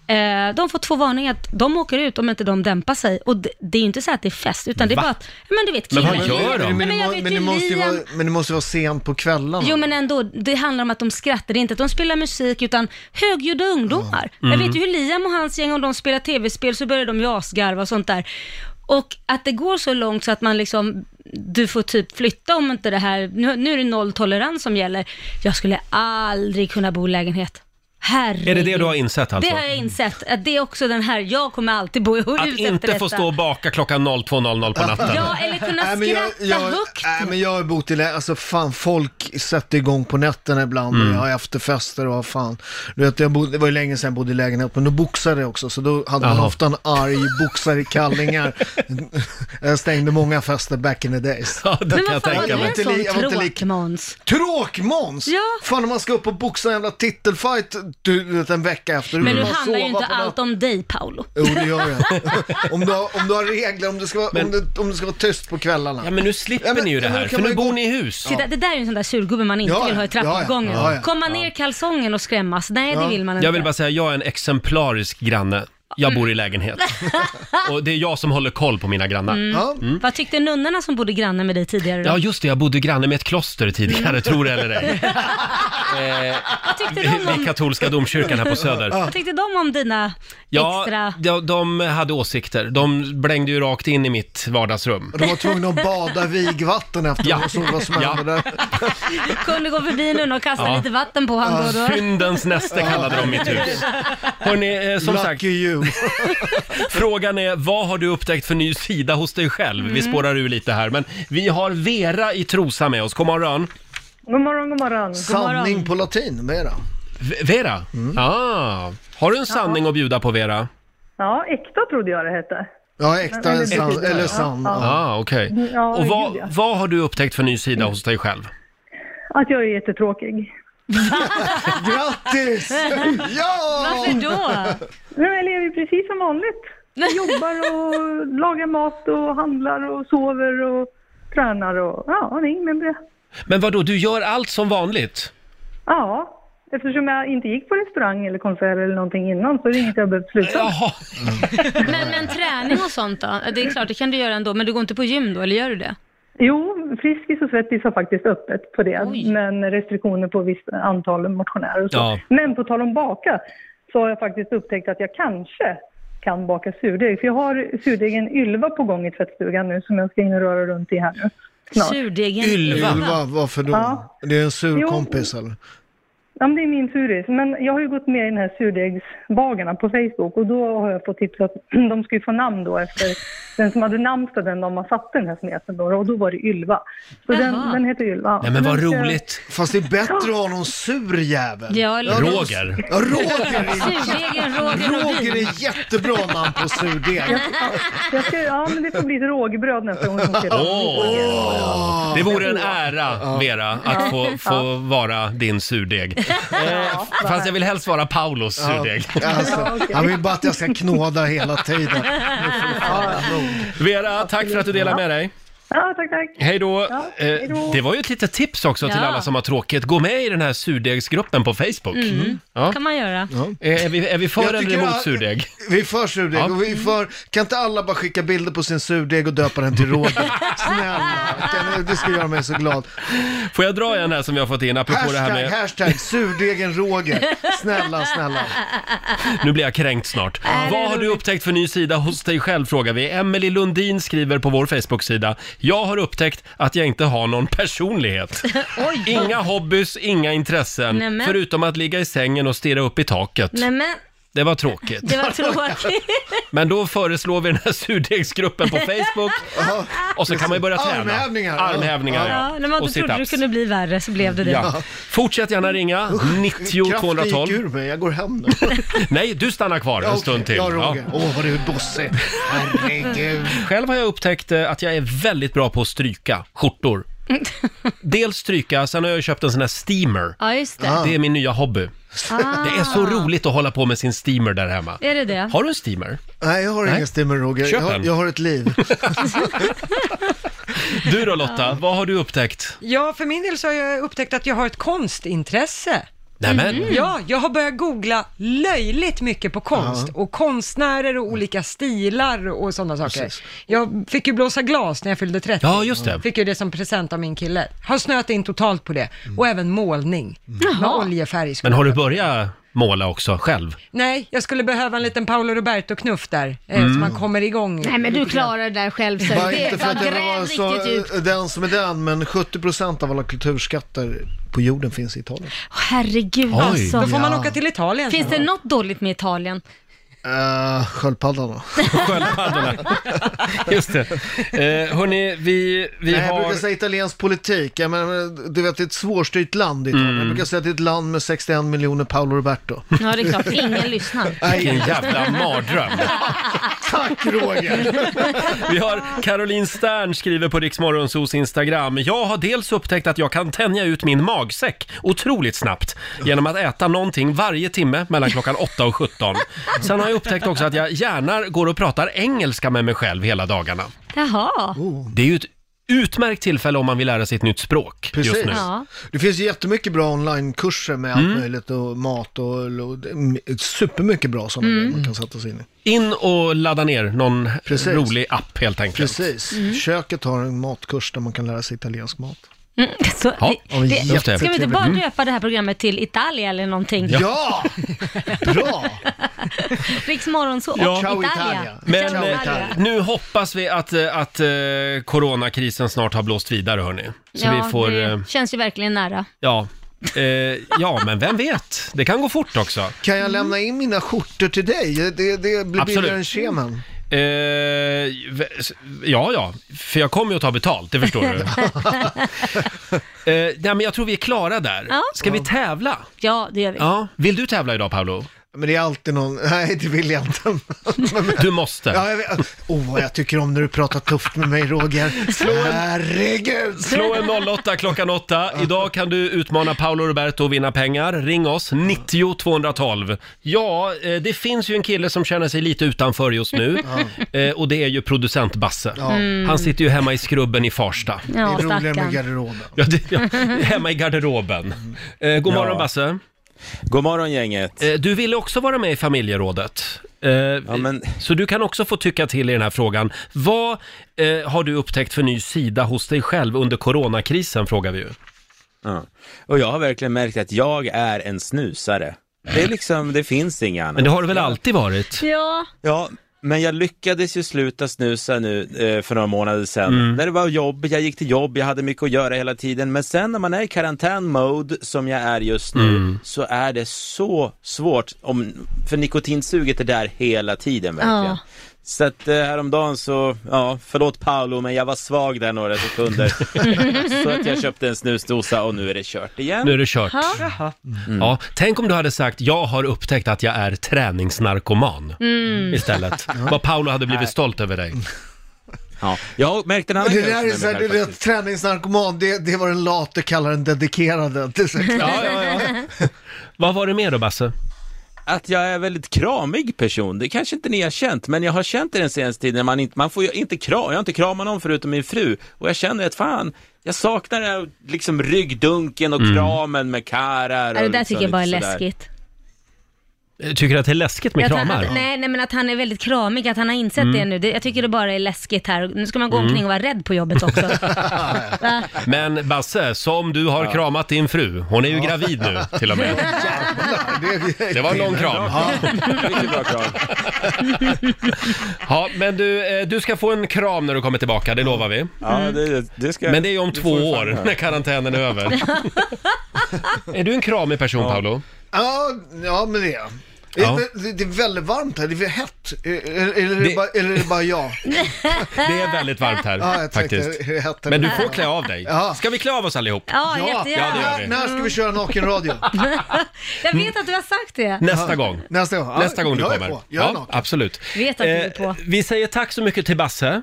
Eh, de får två varningar att de åker ut om inte de dämpar sig. Och det, det är ju inte så att det är fest utan det är
Va?
bara att, men du vet
Men vad
killar.
gör de?
Nej,
Men, men,
men jag vet
men, det
ju
måste ju vara,
Liam-
men det måste vara sent på kvällarna.
Jo men ändå, det handlar om att de skrattar, det är inte att de spelar musik utan högljudda ungdomar.
Mm.
Jag vet ju hur Liam och hans gäng, om de spelar tv-spel så börjar de ju asgarva och sånt där. Och att det går så långt så att man liksom, du får typ flytta om inte det här, nu, nu är det nolltolerans som gäller. Jag skulle aldrig kunna bo i lägenhet. Herregud.
Är det det du har insett alltså?
Det har jag insett, att det är också den här, jag kommer alltid bo i hus
Att
efter
inte få
detta.
stå och baka klockan 02.00 på natten?
Ja, eller kunna
Nej,
skratta
men jag, jag,
högt.
Nej, men jag har bott i lä- alltså fan folk sätter igång på nätterna ibland
Mm.
och jag har efterfester och vad fan. Du vet, jag bodde, det var ju länge sedan jag bodde i lägenhet, men då boxade jag också, så då hade man
Jaha.
ofta en arg boxare i kallingar. jag stängde många fester back in the days.
Ja, det
men
kan
vad
jag
fan,
tänka
var du
mig.
en
Jag var inte li- jag var
sån
inte li-
tråk, Måns?
Tråkmåns!
Ja.
Fan om man ska upp och boxa en jävla titelfight du, du vet, en vecka efter.
Men nu
kan Mm. man
handlar ju
sova
inte
på natten.
allt om dig Paolo.
Jo, det gör det. om, du har, om du har regler, om det ska vara, om
Men-
det, om det ska vara tyst på kvällarna.
Ja men nu slipper
Ja, men-
ni ju det
ja, men
här,
kan
för
man
nu
ju
bor
gå-
ni i hus.
Titta, det där är ju en sån där surgubbe man inte
Ja,
vill ha i
ja, ja,
trappuppgången.
ja, ja.
Komma ner i kalsongen och skrämmas, nej det
Ja.
vill man inte.
Jag vill bara säga, jag är en exemplarisk granne. Jag bor i lägenhet. Och det är jag som håller koll på mina grannar.
Ja.
Vad tyckte nunnorna som bodde granne med dig tidigare då?
Mm. Ja just det, jag bodde granne med ett kloster tidigare, tror det eller ej.
Vad tyckte de
I
om,
katolska domkyrkan här på Söder.
vad tyckte de om dina
Ja,
extra...
de, de hade åsikter. De blängde ju rakt in i mitt vardagsrum.
Och De var tvungna att bada i vigvatten efter
Ja.
ja. och såg vad som
Ja.
hände där.
Kunde gå förbi nunnan och kasta
Ja.
lite vatten på honom då och då.
Syndens näste kallade de mitt hus. Hörrni, eh, som sagt,
Lucky you.
frågan är vad har du upptäckt för ny sida hos dig själv? Vi spårar ur lite här, men vi har Vera i Trosa med oss. God morgon!
God morgon, god morgon.
Sanning på latin, vad är det?
V- Vera?
Mm.
Ah, har du en sanning att bjuda på Vera?
Ja, äkta trodde jag det hette.
Ja, äkta
men det
san,
betyder-
eller
ja,
sann.
ja.
Ja.
Ah, okej.
Ja,
Och
gud, ja.
vad, vad har du upptäckt för ny sida
Mm.
hos dig själv?
Att jag är jättetråkig.
Grattis! Ja!
Varför då?
Nej, men jag lever ju precis som vanligt. Jag jobbar och lagar mat och handlar och sover och tränar och ja, det är inget mer med det.
Men vadå, du gör allt som vanligt?
Ja, eftersom jag inte gick på restaurang eller konsert eller någonting innan så är det inget jag behövt sluta med.
Jaha,
Men, men träning och sånt då? Det är klart, det kan du göra ändå, men du går inte på gym då, eller gör du det?
Jo, Friskis och Svettis har faktiskt öppet på det,
Oj.
men restriktioner på visst antal motionärer och så.
Ja.
Men på tal om baka så har jag faktiskt upptäckt att jag kanske kan baka surdeg. För jag har surdegen Ylva på gång i tvättstugan nu som jag ska in och röra runt i här nu. Snart.
Surdegen.
Ylva, varför då?
Ja.
Det är en sur
Jo.
kompis eller?
Ja, men det är min suris. Men jag har ju gått med i den här surdegsbagarna på Facebook och då har jag fått tips att de ska ju få namn då efter den som hade namnsdag den dagen man satte den här smeten då och då var det Ylva. Så den,
Jaha.
den heter Ylva.
nej men vad
Den ska-
roligt.
Fast det är bättre att ha någon sur jävel.
Ja, eller
Roger.
Ja, Roger är,
Surdegen Roger
Roger
Nordin.
är jättebra namn på surdeg.
Jag ska, ja, men det får bli ett rågbröd nästa gång. som
Åh!
skriver.
Ah.
Det vore en ära, Vera, att få, få vara din surdeg. Eh, fast jag vill helst vara Paulos surdeg.
Alltså, han vill bara att jag ska knåda hela tiden. Nu får du fan nog.
Vera, tack för att du delade med dig.
Ja, tack, tack.
Hej då!
hej då.
Eh, Det var ju ett litet tips också till
Ja.
alla som har tråkigt. Gå med i den här surdegsgruppen på Facebook.
Mm.
Ja.
kan man göra.
Eh, Är, vi, är vi för
Jag
eller
tycker
emot
jag-
surdeg?
Vi är för surdeg
Ja.
och vi är för, kan inte alla bara skicka bilder på sin surdeg och döpa den till Roger? Snälla, kan, det ska göra mig så glad.
Får jag dra en här som jag har fått in apropå det här
Hashtag,
med...
hashtag, surdegen Roger. Snälla, snälla.
Nu blir jag kränkt snart.
Äh,
Vad har du upptäckt för ny sida hos dig själv frågar vi. Emelie Lundin skriver på vår Facebook-sida. Jag har upptäckt att jag inte har någon personlighet. Inga hobbys, inga intressen.
Nämen.
Förutom att ligga i sängen och stirra upp i taket.
Nej men,
Det var tråkigt.
det var tråkigt.
Men då föreslår vi den här surdegsgruppen på Facebook. Och så kan man ju börja träna.
Armhävningar.
Armhävningar, ja.
Ja, när man
Och
inte trodde det
sit-ups.
kunde bli värre så blev det det.
Ja. Fortsätt gärna ringa, 90
Kraften gick
212.
ur mig, jag går hem nu.
Nej, du stannar kvar en stund till.
Ja,
Ja.
Roger. Åh, vad du är bossig. Herregud.
Själv har jag upptäckt eh, att jag är väldigt bra på att stryka skjortor. Dels stryka, sen har jag ju köpt en sån här steamer.
Ja, just det.
Ah.
Det är min nya hobby. Det är så roligt att hålla på med sin steamer där hemma.
Är det det?
Har du en steamer?
Nej, jag har
Nej.
ingen stimmer, Roger.
Köp
Jag, har-
en.
jag har ett liv.
Du då Lotta, vad har du upptäckt?
Ja, för min del så har jag upptäckt att jag har ett konstintresse.
Nämen,
Mm.
Ja, jag har börjat googla löjligt mycket på konst och konstnärer och olika stilar och sådana saker.
Precis.
Jag fick ju blåsa glas när jag fyllde 30.
Ja, just det.
Fick ju det som present av min kille. Har snöat in totalt på det. Och även målning. Med oljefärg. skulle
men har du
jag-
börjat måla också själv?
Nej, jag skulle behöva en liten Paolo Roberto-knuff där, eh, så man kommer igång.
Nej men du klarar det där själv så
Bara
det
inte för
bara
att jag
gräv
var
riktigt
så,
djupt.
eh, den som är den, men 70% av alla kulturskatter på jorden finns i Italien.
Åh, herregud
Oj.
alltså.
Då får man
Ja.
åka till Italien.
Finns
sen.
det något dåligt med Italien?
Uh, sköldpaddan då?
Sköldpaddorna. Just det. Eh, hörni, vi, vi
Nej, jag
har...
brukar säga italiensk politik. Jag menar, du vet, det är ett svårstyrt land Italien.
Mm.
Jag brukar säga att det är ett land med 61 miljoner Paolo Roberto.
Ja, det är klart. Ingen lyssnar.
Vilken
Nej,
jävla mardröm.
tack Roger!
Vi har Caroline Stern skriver på Riksmorgonsos Instagram. Jag har dels upptäckt att jag kan tänja ut min magsäck otroligt snabbt genom att äta någonting varje timme mellan klockan 8 och 17. Sen har jag upptäckt också att jag gärna går och pratar engelska med mig själv hela dagarna.
Jaha.
Det är ju ett utmärkt tillfälle om man vill lära sig ett nytt språk just
Precis.
nu. Mm.
Ja.
Det finns ju jättemycket bra onlinekurser med allt möjligt och mat och, och det är supermycket bra sådana grejer man kan sätta sig in i.
In och ladda ner någon
Precis.
rolig app helt enkelt.
Precis. Köket har en matkurs där man kan lära sig italiensk mat.
Mm, så,
Ja,
ja,
det,
just
det. Mm.
Ska vi inte bara döpa det här programmet till Italia eller någonting? Ja.
Ja! bra!
Riks Morgonzoo och
Ja.
Ciao
Italia.
Italia.
Men
Ciao
eh,
Italia.
nu hoppas vi att, eh, att eh, coronakrisen snart har blåst vidare hörni. Så vi
ja,
får... eh,
det känns ju verkligen nära.
Ja. Eh, ja, men vem vet? Det kan gå fort också.
Kan jag lämna in mina skjortor till dig? Det, det blir
Absolut.
billigare än kemen.
Eh, v- s- ja, ja, för jag kommer ju att ta betalt, det förstår du. eh, nej, men jag tror vi är klara där.
Ja.
Ska vi tävla?
Ja, det gör vi.
Ja. Vill du tävla idag, Paolo?
Men det är alltid någon, nej det vill jag inte. Men-
Du måste.
Ja, jag vet. Oh, vad jag tycker om när du pratar tufft med mig Roger. Herregud!
Slå en 08 klockan 8. Idag kan du utmana Paolo Roberto och vinna pengar. Ring oss, 90 212. Ja, eh, det finns ju en kille som känner sig lite utanför just nu. Eh, Och det är ju producent Basse. Han sitter ju hemma i skrubben i Farsta.
Det
Ja,
är roligare med
stackarn.
garderoben.
Ja, det, ja, hemma i garderoben. Eh, god morgon
Ja.
Basse.
God morgon gänget.
Eh, du ville också vara med i familjerådet. Eh,
Ja, men...
Så du kan också få tycka till i den här frågan. Vad eh, har du upptäckt för ny sida hos dig själv under coronakrisen frågar vi ju.
Ja. Och jag har verkligen märkt att jag är en snusare. Det är liksom, det finns inget annat.
Men det har du väl alltid varit?
Ja,
Ja, men jag lyckades ju sluta snusa nu eh, för några månader sedan. När det var jobb, jag gick till jobb, jag hade mycket att göra hela tiden. Men sen när man är i karantän-mode, som jag är just nu, så är det så svårt. Om, för nikotinsuget är där hela tiden verkligen.
Ja.
Så att eh, häromdagen så, ja, förlåt Paolo, men jag var svag där några sekunder. så att jag köpte en snusdosa och nu är det kört igen.
Nu är det kört. Mm.
Jaha.
Ja, tänk om du hade sagt jag har upptäckt att jag är träningsnarkoman istället. Vad Paolo hade blivit stolt över dig.
Ja, jag har märkt en annan
Det
grej
där
som
är
jag
så här,
märkt
du vet,
faktiskt.
träningsnarkoman, det, det är vad den late kallar den dedikerade. Det är så här,
Ja, ja, ja. Vad var det mer då Basse?
att jag är en väldigt kramig person. Det kanske inte ni har känt, men jag har känt det den senaste tiden. Man, inte, man får ju inte kram, jag har inte kramat någon förutom min fru. Och jag känner att fan, jag saknar den här liksom ryggdunken och kramen med karar.
Mm. det
och
där
liksom
tycker jag bara är
lite sådär.
läskigt.
Tycker du att det är läskigt med
Att han,
kramar? Mm.
att, nej, nej, men att han är väldigt kramig, att han har insett det nu. Det, jag tycker det bara är läskigt här. Nu ska man gå omkring och vara rädd på jobbet också. Va?
Men Basse, som du har kramat din fru. Hon är ju gravid nu till och med.
det, är-
Det var en lång kram.
Ja,
Mycket bra kram.
Ja, men du, eh, du ska få en kram när du kommer tillbaka, det lovar vi.
Ja, det, det ska jag-
Men det är ju om
det
två
får vi fan
år,
göra.
när karantänen är över. Är du en kramig person, Paolo?
ja, ja men det är jag.
Ja.
Det, det, det är väldigt varmt här, det är hett. Eller, eller, är det...
Det-
bara, eller är det bara jag?
Det är väldigt varmt
Ja,
här,
jag tänkte,
faktiskt.
är det hett här?
Men du får klä av dig.
Ja.
Ska vi klä av oss allihop?
Ja,
Ja,
jättegärna.
det gör vi. Mm.
när, när ska vi köra nakenradio?
Jag vet att du har sagt det.
Nästa gång.
Nästa gång? Ja,
Nästa gång du
jag är
kommer.
på. Jag är
Ja,
naken.
absolut.
Vet att du är på.
Eh, vi säger tack så mycket till Basse.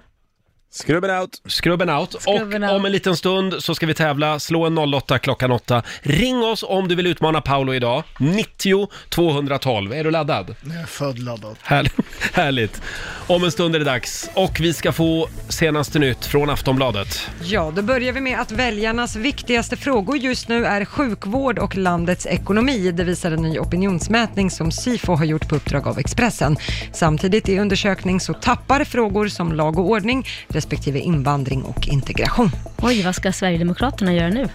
Skrubben out.
Skrubben out.
Skrubben
och
out.
om en liten stund så ska vi tävla. Slå en 08 klockan 8. Ring oss om du vill utmana Paolo idag. 90 212. Är du laddad?
Jag är född laddad.
Härligt. Härligt. Om en stund är det dags och vi ska få senaste nytt från Aftonbladet.
Ja, då börjar vi med att väljarnas viktigaste frågor just nu är sjukvård och landets ekonomi. Det visar en ny opinionsmätning som Sifo har gjort på uppdrag av Expressen. Samtidigt i undersökning så tappar frågor som lag och ordning respektive invandring och integration.
Oj, vad ska Sverigedemokraterna göra nu?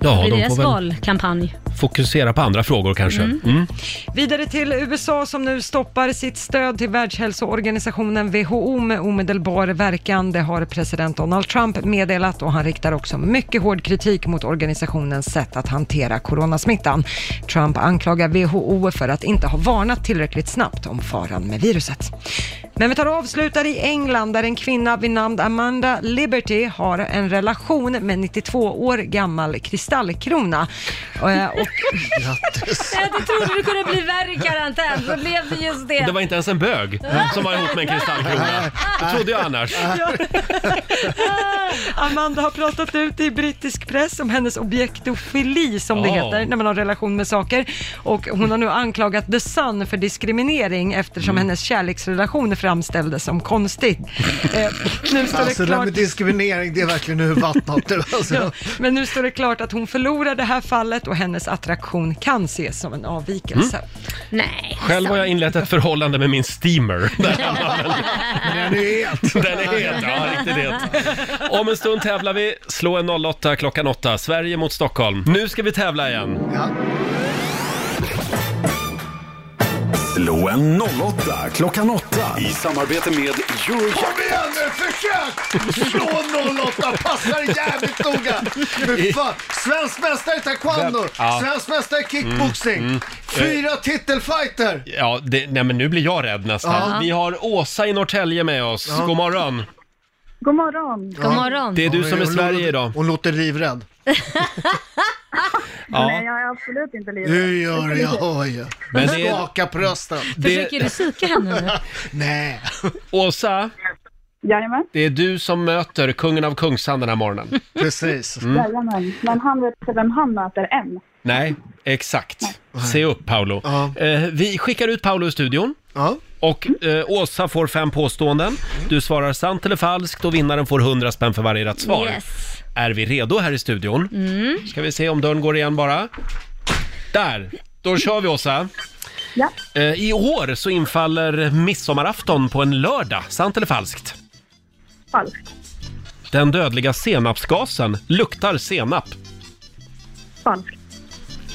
Ja,
Blir
de
deras
får väl
valkampanj?
fokusera på andra frågor kanske. Mm.
Vidare till USA som nu stoppar sitt stöd till Världshälsoorganisationen WHO med omedelbar verkan. Det har president Donald Trump meddelat och han riktar också mycket hård kritik mot organisationens sätt att hantera coronasmittan. Trump anklagar WHO för att inte ha varnat tillräckligt snabbt om faran med viruset. Men vi tar och avslutar i England där en kvinna vid namn Amanda Liberty har en relation med 92 år gammal kristallkrona. Eh, Och
Grattis.
Jag hade trodde det kunde bli värre i karantän, så blev det just det.
Det var inte ens en bög som var ihop med en kristallkrona. Det trodde jag annars.
Amanda har pratat ut i brittisk press om hennes objektofili som det
Ja.
heter när man har relation med saker och hon har nu anklagat The Sun för diskriminering eftersom hennes kärleksrelation framställdes som konstigt. Eh, nu står
Alltså
det
det där
klart
med diskriminering, det är verkligen ur vattnet nu alltså.
men nu står det klart att hon förlorar det här fallet och hennes attraktion kan ses som en avvikelse.
Nej.
Själv har jag inlett ett förhållande med min steamer.
Den är het.
Den är het, ja riktigt het. Om en stund tävlar vi. Slå en 08 klockan 8. Sverige mot Stockholm. Nu ska vi tävla igen.
Ja.
Slå en 08 klockan 8 i samarbete med Eurojackpot.
Kom igen nu, försök! Slå 08, passar jävligt noga! Fy fan, Svensk mästare i taekwondo,
Ja. Mm,
svensk mästare i kickboxing, fyra titelfighter!
Ja, det, nej men nu blir jag rädd nästan. Vi har Åsa i Norrtälje med oss. God morgon.
God morgon.
God morgon.
Det är du
Oj,
som är
hon
Sverige
låter-
idag.
Hon låter livrädd.
Nej,
Ja,
jag är absolut inte livrädd.
Du gör det, jag hör ju.
Men
Men
det är-
Skaka på rösten.
det,
Försöker du psyka henne nu?
Nej.
Åsa,
Jajamän.
det är du som möter kungen av Kungsan den här morgonen.
Precis.
Mm.
Mm. Jajamän. Men han vet inte vem han möter än.
Nej, exakt. Se upp Paolo.
Ja.
Eh, vi skickar ut Paolo i studion.
Ja.
Och eh, Åsa får fem påståenden. Du svarar sant eller falskt och vinnaren får 100 spänn för varje rätt svar.
Yes.
Är vi redo här i studion?
Mm.
Ska vi se om dörren går igen bara. Där! Då kör vi Åsa.
Ja.
Eh, I år så infaller midsommarafton på en lördag. Sant eller falskt?
Falskt.
Den dödliga senapsgasen luktar senap.
Falskt.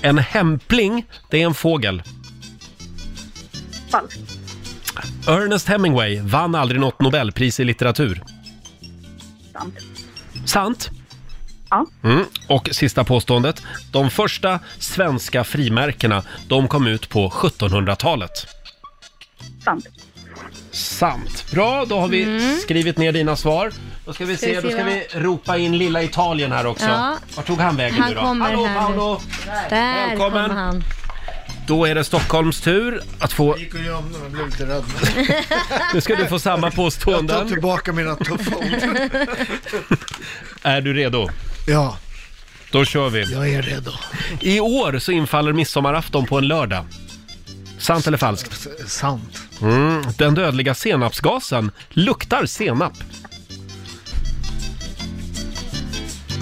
En hämpling, det är en fågel.
Falskt.
Ernest Hemingway vann aldrig något Nobelpris i litteratur.
Sant.
Sant.
Ja.
Mm. Och sista påståendet. De första svenska frimärkena, de kom ut på 1700-talet.
Sant.
Sant. Bra, då har vi skrivit ner dina svar. Då ska vi se,
Mm. vi se
då ska
vad-
vi ropa in lilla Italien här också.
Ja.
Vart tog han vägen
Han
nu då?
kommer
Hallå
här nu.
Paolo!
Där
Välkommen.
kommer han.
Då är det Stockholms tur att få...
gick och gömde mig, jag blev lite rädd.
Nu ska du få samma
Jag tar
påståenden.
tillbaka mina tuffa ord.
Är du redo?
Ja,
Då kör vi.
jag är redo.
I år så infaller midsommarafton på en lördag. Sant eller falskt?
S- Sant.
Mm. Den dödliga senapsgasen luktar senap.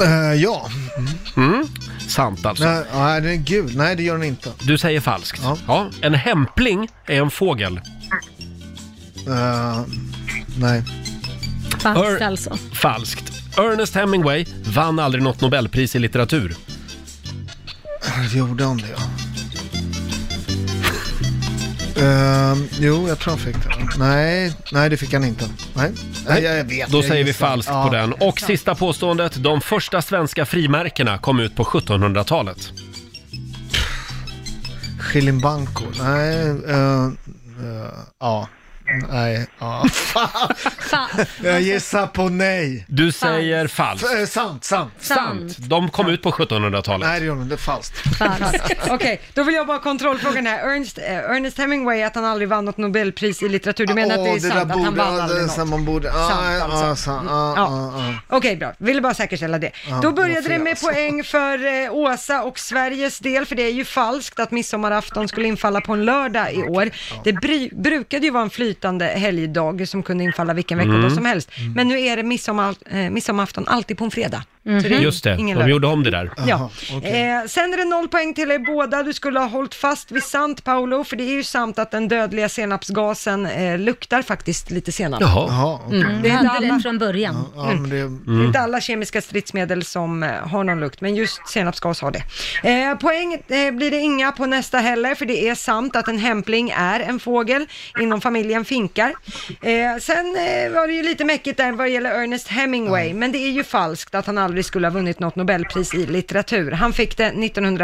Eh, ja,
Sant alltså.
nej, nej, den är gul. Nej, det gör den inte.
Du säger falskt. Ja.
Ja.
En hämpling är en fågel.
Eh, nej.
Falskt
Ör-
alltså.
Falskt. Ernest Hemingway vann aldrig något Nobelpris i litteratur.
Gjorde han det? Ehm, jo, jag tror han fick det. Nej, nej det fick han inte. Nej, nej jag vet.
Då
jag
säger vi
gissar.
falskt
Ja.
på den. Och sista påståendet. De första svenska frimärkena kom ut på 1700-talet.
Schillimbanco. Nej, eh, eh, ja. Nej, ja. Fan,
Fa-
jag gissar på nej.
Du säger falskt.
F- eh, sant, sant.
Mm.
Sant. De kom ut på 1700-talet.
Nej, det gjorde han inte. Falskt.
Falskt.
Okej, då vill jag bara kontrollfrågan här. Ernst, eh, Ernest Hemingway, att han aldrig vann något Nobelpris i litteratur. Du menar att det är
Åh, där
sant att han
borde-
vann
det är
aldrig
sant,
något?
Man borde, ah,
Sant,
sant,
alltså. Mm.
ah, sant, ah,
Ja.
ah, ah.
Okej, bra. Ville bara säkerställa det.
det
Då
var
började det
fel
med
alltså.
poäng för eh, Åsa och Sveriges del, för det är ju falskt att midsommarafton skulle infalla på en lördag i år. Det bry- brukade ju vara en flytande
Mm.
helgdag som kunde infalla vilken veckodag som helst. Men nu är det midsommar- eh, midsommarafton alltid på en fredag. Så det är
Mm. Just det,
ingen
de
lön.
gjorde om det där.
Jaha,
Ja.
okej.
Eh, sen är det noll poäng till er båda. Du skulle ha hållit fast vid sant, Paolo, för det är ju sant att den dödliga senapsgasen eh, luktar faktiskt lite senap.
Jaha.
Jaha, okej.
Vi
Det är
hade
alla-
det från början.
Ja, men det...
Det är inte alla kemiska stridsmedel som eh, har någon lukt, men just senapsgas har det. Eh, poäng eh, blir det inga på nästa heller, för det är sant att en hämpling är en fågel inom familjen finkar. Eh, sen eh, var det ju lite mäckigt där vad det gäller Ernest Hemingway, men det är ju falskt att han aldrig skulle ha vunnit något Nobelpris i litteratur. Han fick det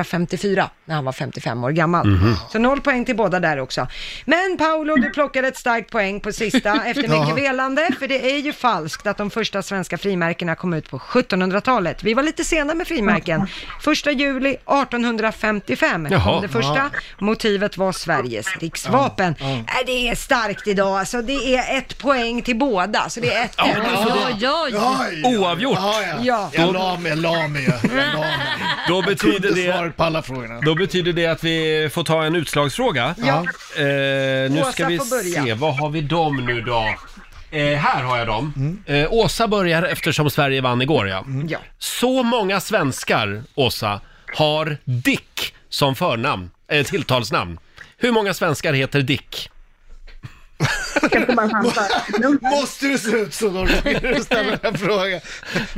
1954, när han var 55 år gammal. Så noll poäng till båda där också. Men Paolo, du plockade ett starkt poäng på sista, efter mycket
Ja.
felande, för det är ju falskt att de första svenska frimärkena kom ut på 1700-talet. Vi var lite sena med frimärken. Första juli 1855
Jaha.
kom det första. Motivet var Sveriges riksvapen. Äh, det är starkt idag, alltså det är ett poäng till båda, så det är ett
Oj, oj, oj.
Aj, ja.
Oavgjort!
Ja, ja.
Ja.
Jag la mig, jag la mig. Jag la mig.
Då betyder
Kunde
det...
svaret på alla frågorna.
Då betyder det att vi får ta en utslagsfråga.
Ja.
Eh, nu
Åsa
ska vi
får börja.
se, vad har vi dem nu då? Eh, här har jag dem.
Mm.
Eh, Åsa börjar eftersom Sverige vann igår ja.
Ja.
Så många svenskar, Åsa, har Dick som förnamn, eh, tilltalsnamn. Hur många svenskar heter Dick?
Kanske man chansar. Men
Måste det se ut så då Roger, när du ställer den här frågan?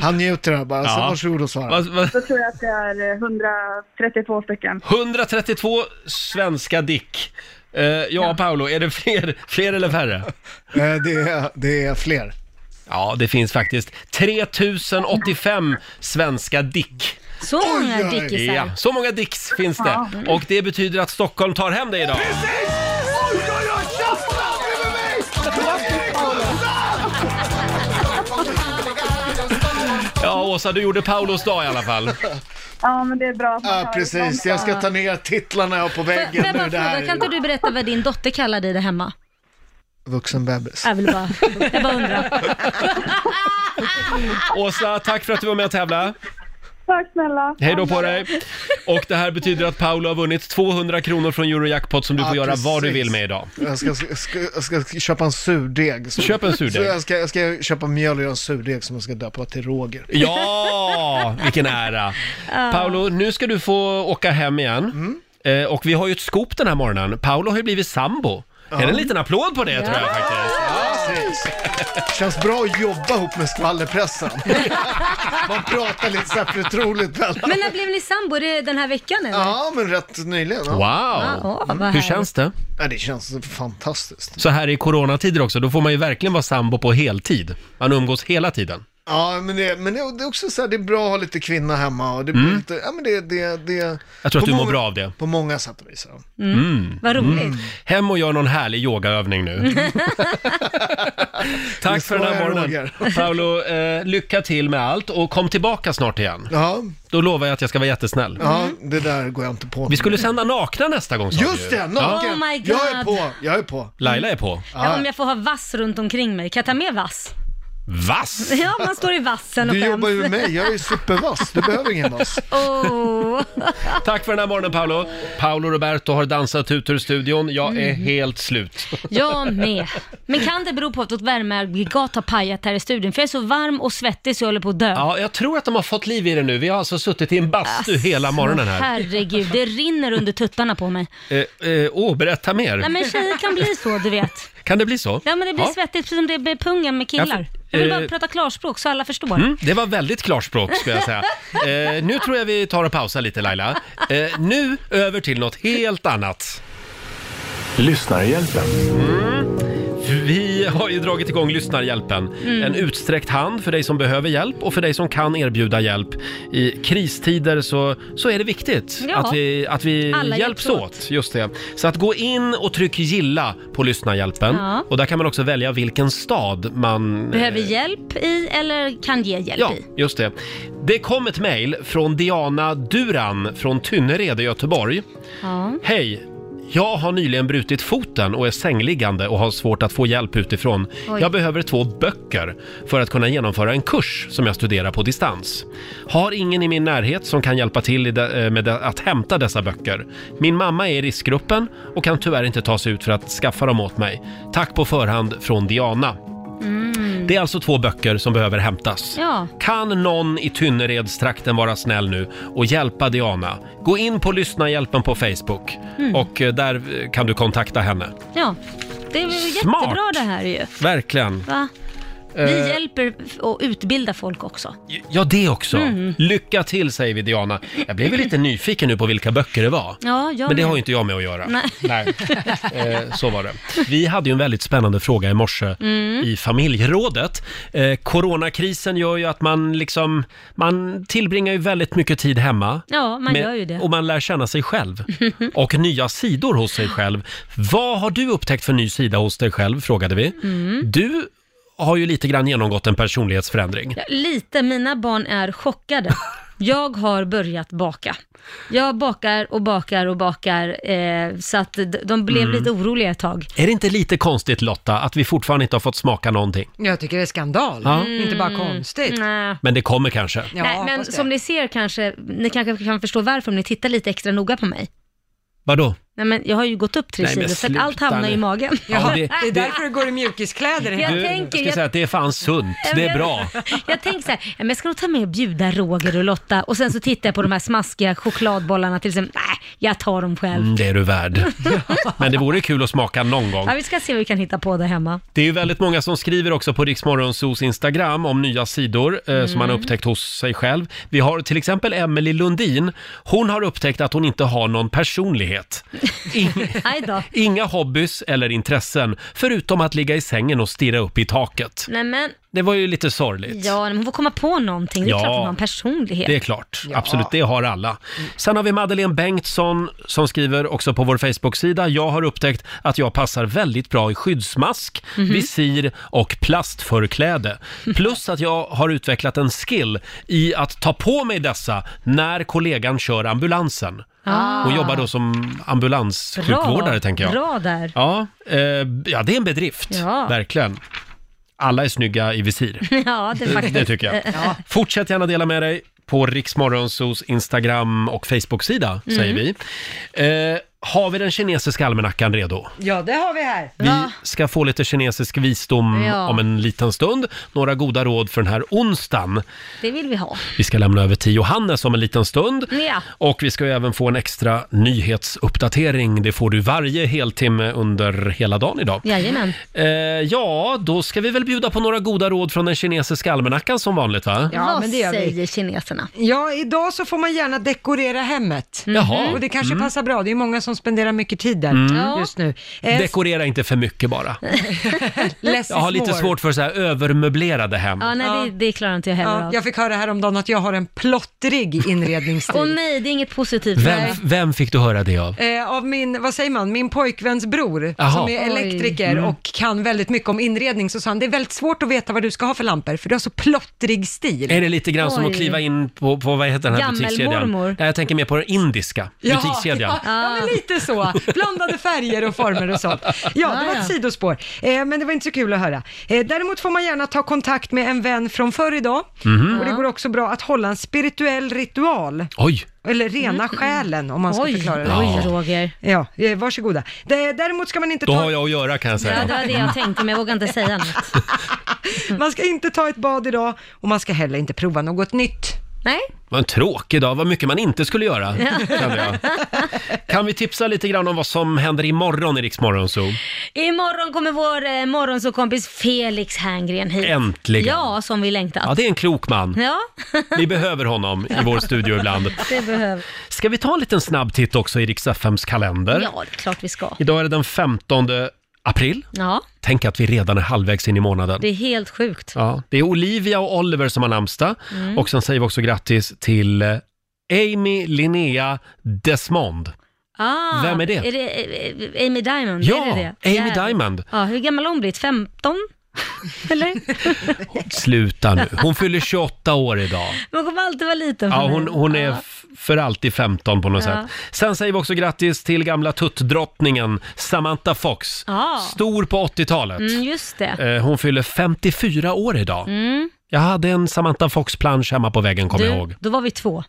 Han njuter här bara, så
Ja.
varsågod och svara.
Va, va,
Då tror jag att det är eh, 132 stycken.
132 svenska Dick. Eh, ja, Paolo, är det fler, fler eller färre?
Eh, Det är, det är fler.
Ja, det finns faktiskt 3085 svenska Dick.
Så många
oj.
dickisar.
Ja, så många dicks finns det. Och det betyder att Stockholm tar hem det idag. Ja, Åsa, du gjorde Paulos dag i alla fall.
Ja, men det är bra. att man
Ja,
tar
precis.
ifrån
Jag ska ta ner titlarna här på
Får
väggen
jag
nu.
bara
Det här
fråga, kan inte
är
du berätta vad din dotter kallar dig där hemma?
vuxenbebis.
Jag vill bara, jag bara undrar.
Åsa, tack för att du var med och tävlade.
Tack snälla.
Hej då på dig. Och det här betyder att Paolo har vunnit 200 kronor från Eurojackpot som du får
Ja,
göra vad du
precis.
vill med idag.
Jag ska, ska, jag ska köpa en surdeg. som-
Köp en surdeg.
Så jag, ska, jag ska köpa mjöl och göra en surdeg som jag ska döpa till Roger.
Ja, vilken ära! Paolo, nu ska du få åka hem igen. Eh, och vi har ju ett scoop den här morgonen. Paolo har ju blivit sambo. Är det en liten applåd på det tror jag faktiskt?
Precis. Känns bra att jobba ihop med skvallerpressen. Man pratar lite så här förtroligt mellan.
Men när blev ni sambo? Är det den här veckan eller?
Ja, men rätt nyligen. Ja.
Wow!
Ja, vad
Hur
härligt.
känns det?
Ja, det känns fantastiskt.
Så här i coronatider också, då får man ju verkligen vara sambo på heltid. Man umgås hela tiden.
Ja, men det, men det, det är också så här, det är bra att ha lite kvinna hemma och det blir lite, ja men det, det, det...
Mm. Jag tror att
på
du mår
många-
bra av det.
På många sätt och vis. ja.
Vad roligt.
Hem och gör någon härlig yogaövning nu. Tack för den här
svarar
morgonen.
Roger.
Paolo, eh, lycka till med allt och kom tillbaka snart igen.
Ja,
Då lovar jag att jag ska vara jättesnäll.
ja det där går jag inte på.
Vi skulle sända nakna nästa gång sa
Just
vi
det, Mm.
ju.
naken!
Oh my God.
Jag är på, jag är på.
Laila är på.
Ja, om jag får ha vass runt omkring mig, kan jag ta med vass?
Vass!
Ja, man står i vassen och
Du jobbar
skäms.
ju med mig, jag är ju supervass, du behöver ingen vass.
Åh.
Tack för den här morgonen Paolo. Paolo Roberto har dansat ut ur studion. Jag är
Mm.
helt slut.
Jag med. Men kan det bero på att vårt värmeaggregat har pajat här i studion? För jag är så varm och svettig så jag håller på att dö.
Ja, jag tror att de har fått liv i det nu. Vi har alltså suttit i en bastu hela morgonen här.
Herregud, det rinner under tuttarna på mig.
Åh, eh, eh, åh, berätta
Nej
mer.
men tjejer kan bli så, du vet.
Kan det bli så?
Ja men det blir svettigt precis som det blir pungen med killar. Jag vill bara
eh,
prata klarspråk så alla förstår.
Mm, det var väldigt klarspråk skulle jag säga. Eh, nu tror jag vi tar och pausar lite Laila. Eh, nu över till något helt annat.
Lyssnarhjälpen.
Vi har ju dragit igång Lyssnarhjälpen.
Mm.
En utsträckt hand för dig som behöver hjälp och för dig som kan erbjuda hjälp. I kristider så, så är det viktigt
Ja.
att vi, att vi
Alla
hjälps
hjälps
åt.
åt.
Just det. Så att gå in och tryck gilla på Lyssnarhjälpen.
Ja.
Och där kan man också välja vilken stad man...
Behöver
eh,
hjälp i eller kan ge hjälp
Ja,
i.
just det. Det kom ett mejl från Diana Duran från Tynnered i Göteborg.
Ja.
Hej! Jag har nyligen brutit foten och är sängliggande och har svårt att få hjälp utifrån.
Oj.
Jag behöver två böcker för att kunna genomföra en kurs som jag studerar på distans. Har ingen i min närhet som kan hjälpa till i de- eh, med de- att hämta dessa böcker. Min mamma är i riskgruppen och kan tyvärr inte ta sig ut för att skaffa dem åt mig. Tack på förhand från Diana. Det är alltså två böcker som behöver hämtas.
Ja.
Kan någon i Tynneredstrakten vara snäll nu och hjälpa Diana? Gå in på Lyssnarhjälpen på Facebook och eh, där eh, kan du kontakta henne.
Ja, det är väl
Smart.
jättebra det här ju.
Verkligen.
Va? Vi
Eh.
hjälper f- och utbildar folk också.
Ja, det också. Lycka till säger vi Diana. Jag blev väl lite nyfiken nu på vilka böcker det var.
Ja, jag
Men det
med.
har ju inte jag med att göra.
Nej.
Eh, så var det. Vi hade ju en väldigt spännande fråga i morse
Mm.
i familjerådet. Eh, coronakrisen gör ju att man liksom, man tillbringar ju väldigt mycket tid hemma.
Ja, man
Med-
gör ju det.
Och man lär känna sig själv. Och nya sidor hos sig själv. Vad har du upptäckt för ny sida hos dig själv, frågade vi.
Mm.
Du har ju lite grann genomgått en personlighetsförändring.
Ja, Lite, mina barn är chockade. Jag har börjat baka. Jag bakar och bakar och bakar, eh, så att d- de blev
Mm.
lite oroliga ett tag.
Är det inte lite konstigt Lotta, att vi fortfarande inte har fått smaka någonting?
Jag tycker det är skandal, Mm.
Ja.
inte bara konstigt.
Nej.
Men det kommer kanske.
Ja,
Nej, men
hoppas det.
som ni ser kanske, ni kanske kan förstå varför om ni tittar lite extra noga på mig.
Vadå?
Nej men jag har ju gått upp tre
Nej, men
kilo, så att
sluta
allt hamnar
nu.
i magen.
Ja, det,
Det är
det,
därför du går i mjukiskläder.
Jag
du, jag
tänker,
ska
jag-
säga att det är fan sunt, det är bra.
Jag tänker så här, ja, men jag ska nog ta med och bjuda Roger och Lotta och sen så tittar jag på de här smaskiga chokladbollarna till exempel. Nej, jag tar dem själv.
Mm, det är du värd. Men det vore kul att smaka någon gång.
Ja, vi ska se vad vi kan hitta på där hemma.
Det är ju väldigt många som skriver också på Riksmorgonsos Instagram om nya sidor eh, som
Mm.
man har upptäckt hos sig själv. Vi har till exempel Emelie Lundin. Hon har upptäckt att hon inte har någon personlighet. In,
Aj då.
inga hobbys eller intressen, förutom att ligga i sängen och stirra upp i taket.
Nej men,
Det var ju lite sorgligt.
ja, men hon får komma på någonting. Det är
Ja.
klart hon har en personlighet.
Det är klart, absolut. Det har alla. Sen har vi Madeleine Bengtsson som skriver också på vår Facebook-sida. Jag har upptäckt att jag passar väldigt bra i skyddsmask,
Mhm.
visir och plastförkläde. Plus att jag har utvecklat en skill i att ta på mig dessa när kollegan kör ambulansen.
Ah.
Hon jobbar då som ambulanssjukvårdare, tänker jag.
Bra där.
Ja, eh, ja, det är en bedrift,
Ja.
verkligen. Alla är snygga i visir.
Ja, det är faktiskt.
Det tycker jag.
eh,
Fortsätt gärna dela med dig på Riksmorgonsos Instagram och Facebook-sida, säger
Mm.
vi. Eh, har vi den kinesiska almanackan redo?
Ja, det har vi här.
Vi ska få lite kinesisk visdom
Ja.
om en liten stund. Några goda råd för den här onsdagen.
Det vill vi ha.
Vi ska lämna över till Johannes om en liten stund.
Ja.
Och vi ska ju även få en extra nyhetsuppdatering. Det får du varje heltimme under hela dagen idag.
Jajamän.
Eh, ja, då ska vi väl bjuda på några goda råd från den kinesiska almanackan som vanligt, va?
Ja,
vad
men det gör vi.
säger kineserna?
Ja, idag så får man gärna dekorera hemmet.
Mm-hmm.
Jaha.
Och det kanske passar bra, det är många som spenderar mycket tid där
Mm.
Ja.
just nu. Eh,
Dekorera inte för mycket bara.
less
Jag har
is
lite
more.
svårt för så här övermöblerade hem.
Ja, nej, Det, det klarar inte jag heller
Ja,
av.
jag fick höra häromdagen att jag har en plottrig
Åh
inredningsstil.
nej, det är inget positivt.
Vem, vem fick du höra det av?
Eh, av min, vad säger man, min pojkväns bror
Jaha.
som är
Oj.
elektriker och kan väldigt mycket om inredning så sa han det är väldigt svårt att veta vad du ska ha för lampor för du har så plottrig stil.
Är det lite grann som att
Oj.
kliva in på, på vad heter den här butikskedjan?
Gammelmormor.
Nej, jag tänker mer på den indiska butikskedjan.
Ja, ja, men lite så. Blandade färger och former och sånt. Ja, det var
Ah, Ja, ja.
ett sidospår. Eh, men det var inte så kul att höra. Eh, däremot får man gärna ta kontakt med en vän från förr idag.
Mhm.
Och det går också bra att hålla en spirituell ritual,
Oj!
eller rena själen om man ska
Mm. Oj,
förklara det.
oj
Ja.
Roger.
Ja, eh, varsågoda. D- Däremot ska man inte
Då har
ta,
jag att göra kan jag
Ja,
säga.
det var det jag tänkte, men jag vågar inte säga något.
man ska inte ta ett bad idag och man ska heller inte prova något nytt.
Nej,
Vad en tråkig dag, vad mycket man inte skulle göra. kände jag. Kan vi tipsa lite grann om vad som händer imorgon i Rix Morgon Zoo?
Imorgon kommer vår eh, morgonsåkompis Felix Herngren hit.
Äntligen.
Ja, som vi längtat.
Ja, det är en klok man.
Ja,
Vi behöver honom i vår studio ibland.
det behöver
Ska vi ta en liten snabb titt också i Rix FMs kalender?
Ja, det är klart vi ska.
Idag är det den 15 april.
Ja,
Tänk att vi redan är halvvägs in i månaden.
det är helt sjukt.
Ja, det är Olivia och Oliver som har namnsdag.
Mm.
Och sen säger vi också grattis till eh, Amy Linnea Desmond.
Ah,
Vem är det?
Är det eh, Amy Diamond?
Ja,
är det det?
Amy
Jävlar.
Diamond.
Ja, hur gammal har hon blivit? 15? Eller?
Sluta nu. Hon fyller 28 år idag.
Men Hon kommer alltid vara liten för
Ja,
mig.
hon, hon är f- för alltid 15 på något
Ja.
sätt. Sen säger vi också grattis till gamla tuttdrottningen Samantha Fox.
Ja.
Stor på 80-talet.
Mm, just det. Mm.
Eh, Hon fyller 54 år idag. Jag hade en Samantha Fox-plansch hemma på väggen, kommer jag
Du,
ihåg.
då var vi två.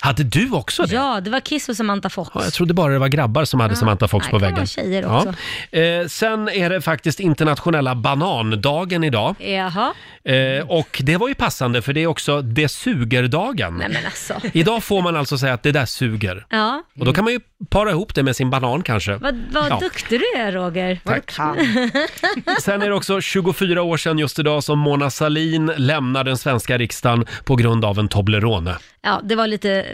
Hade du också det?
Ja, det var Kiss och Samantha Fox.
Ja, jag trodde bara det var grabbar som hade Samantha Fox
nej,
på
det kan
väggen.
vara tjejer också.
Ja. Eh, sen är det faktiskt internationella banandagen idag.
Jaha.
Eh, och det var ju passande för det är också det suger-dagen.
Nej men alltså.
Idag får man alltså säga att det där suger.
Ja.
Och då kan man ju para ihop det med sin banan kanske.
Vad, vad
Ja.
duktig du är Roger.
Tack. Sen är det också 24 år sedan just idag som Mona Sahlin lämnar den svenska riksdagen på grund av en Toblerone.
Ja, det var lite eh,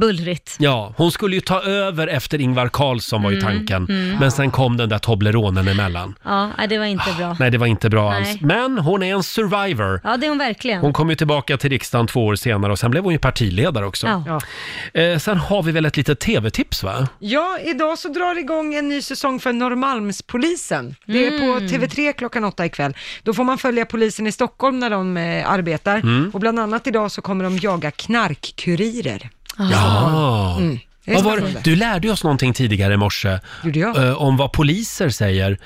bullrigt.
Ja, hon skulle ju ta över efter Ingvar Carlsson var ju
Mm,
tanken.
mm.
Men sen kom den där Tobleronen emellan.
Ja, nej, det var inte bra.
Nej, det var inte bra
Nej.
alls. Men hon är en survivor.
Ja, det är hon verkligen.
Hon kom ju tillbaka till riksdagen två år senare och sen blev hon ju partiledare också.
Ja. Ja.
Eh, sen har vi väl ett litet tv-tips va?
Ja, idag så drar det igång en ny säsong för Norrmalmspolisen. Det är på TV3 klockan åtta ikväll. Då får man följa polisen i Stockholm när de eh, arbetar.
Mm.
Och bland annat idag så kommer de jaga knarkkurirer.
Ja.
Mm. Det är
Vad var det?
spännande.
Du lärde ju oss någonting tidigare i morse eh, om vad poliser säger.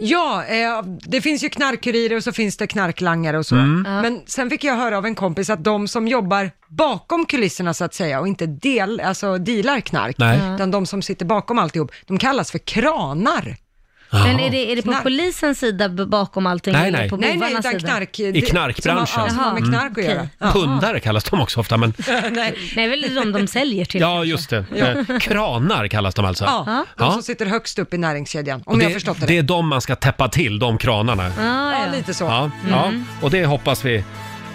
Ja, eh, det finns ju knarkkurirer och så finns det knarklangare och så.
Mm. Ja.
Men sen fick jag höra av en kompis att de som jobbar bakom kulisserna så att säga och inte del, alltså dealar knark,
Nej. Ja.
utan de som sitter bakom alltihop, de kallas för kranar.
Men är det, är det på
Knark.
polisens sida b- bakom allting?
Nej,
eller
nej.
På
Nej, nej,
bovarnas
utan
sida?
knark.
I knarkbranschen.
Som har, ja, som har med
Mm.
knark att göra.
Okej.
Pundare kallas de också ofta, men
Nej.
Nej, väl de de säljer till.
ja, just det. Eh, Kranar kallas de alltså.
Ja, de
Ja.
som sitter högst upp i näringskedjan,
Och
om
det,
jag har förstått det
det
rätt.
är de man ska täppa till, de kranarna.
Ah,
Ja,
ja.
lite så.
Ja, ja.
Mm.
Och det hoppas vi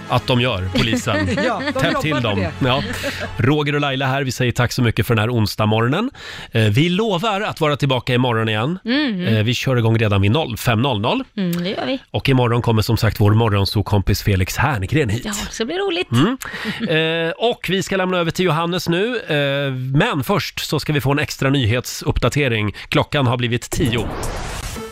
att de gör, polisen.
Ja, de
Täpp
jobbar
till
med
dem.
det.
Ja. Roger och Laila här, vi säger tack så mycket för den här onsdag morgonen. Eh, Vi lovar att vara tillbaka imorgon igen.
Mm.
Eh, Vi kör igång redan vid 05.00.
Mm, det gör vi.
Och imorgon kommer som sagt vår morgonsokompis Felix Herngren hit.
Ja, så blir det roligt.
Mm. Eh, och vi ska lämna över till Johannes nu, eh, men först så ska vi få en extra nyhetsuppdatering. Klockan har blivit tio.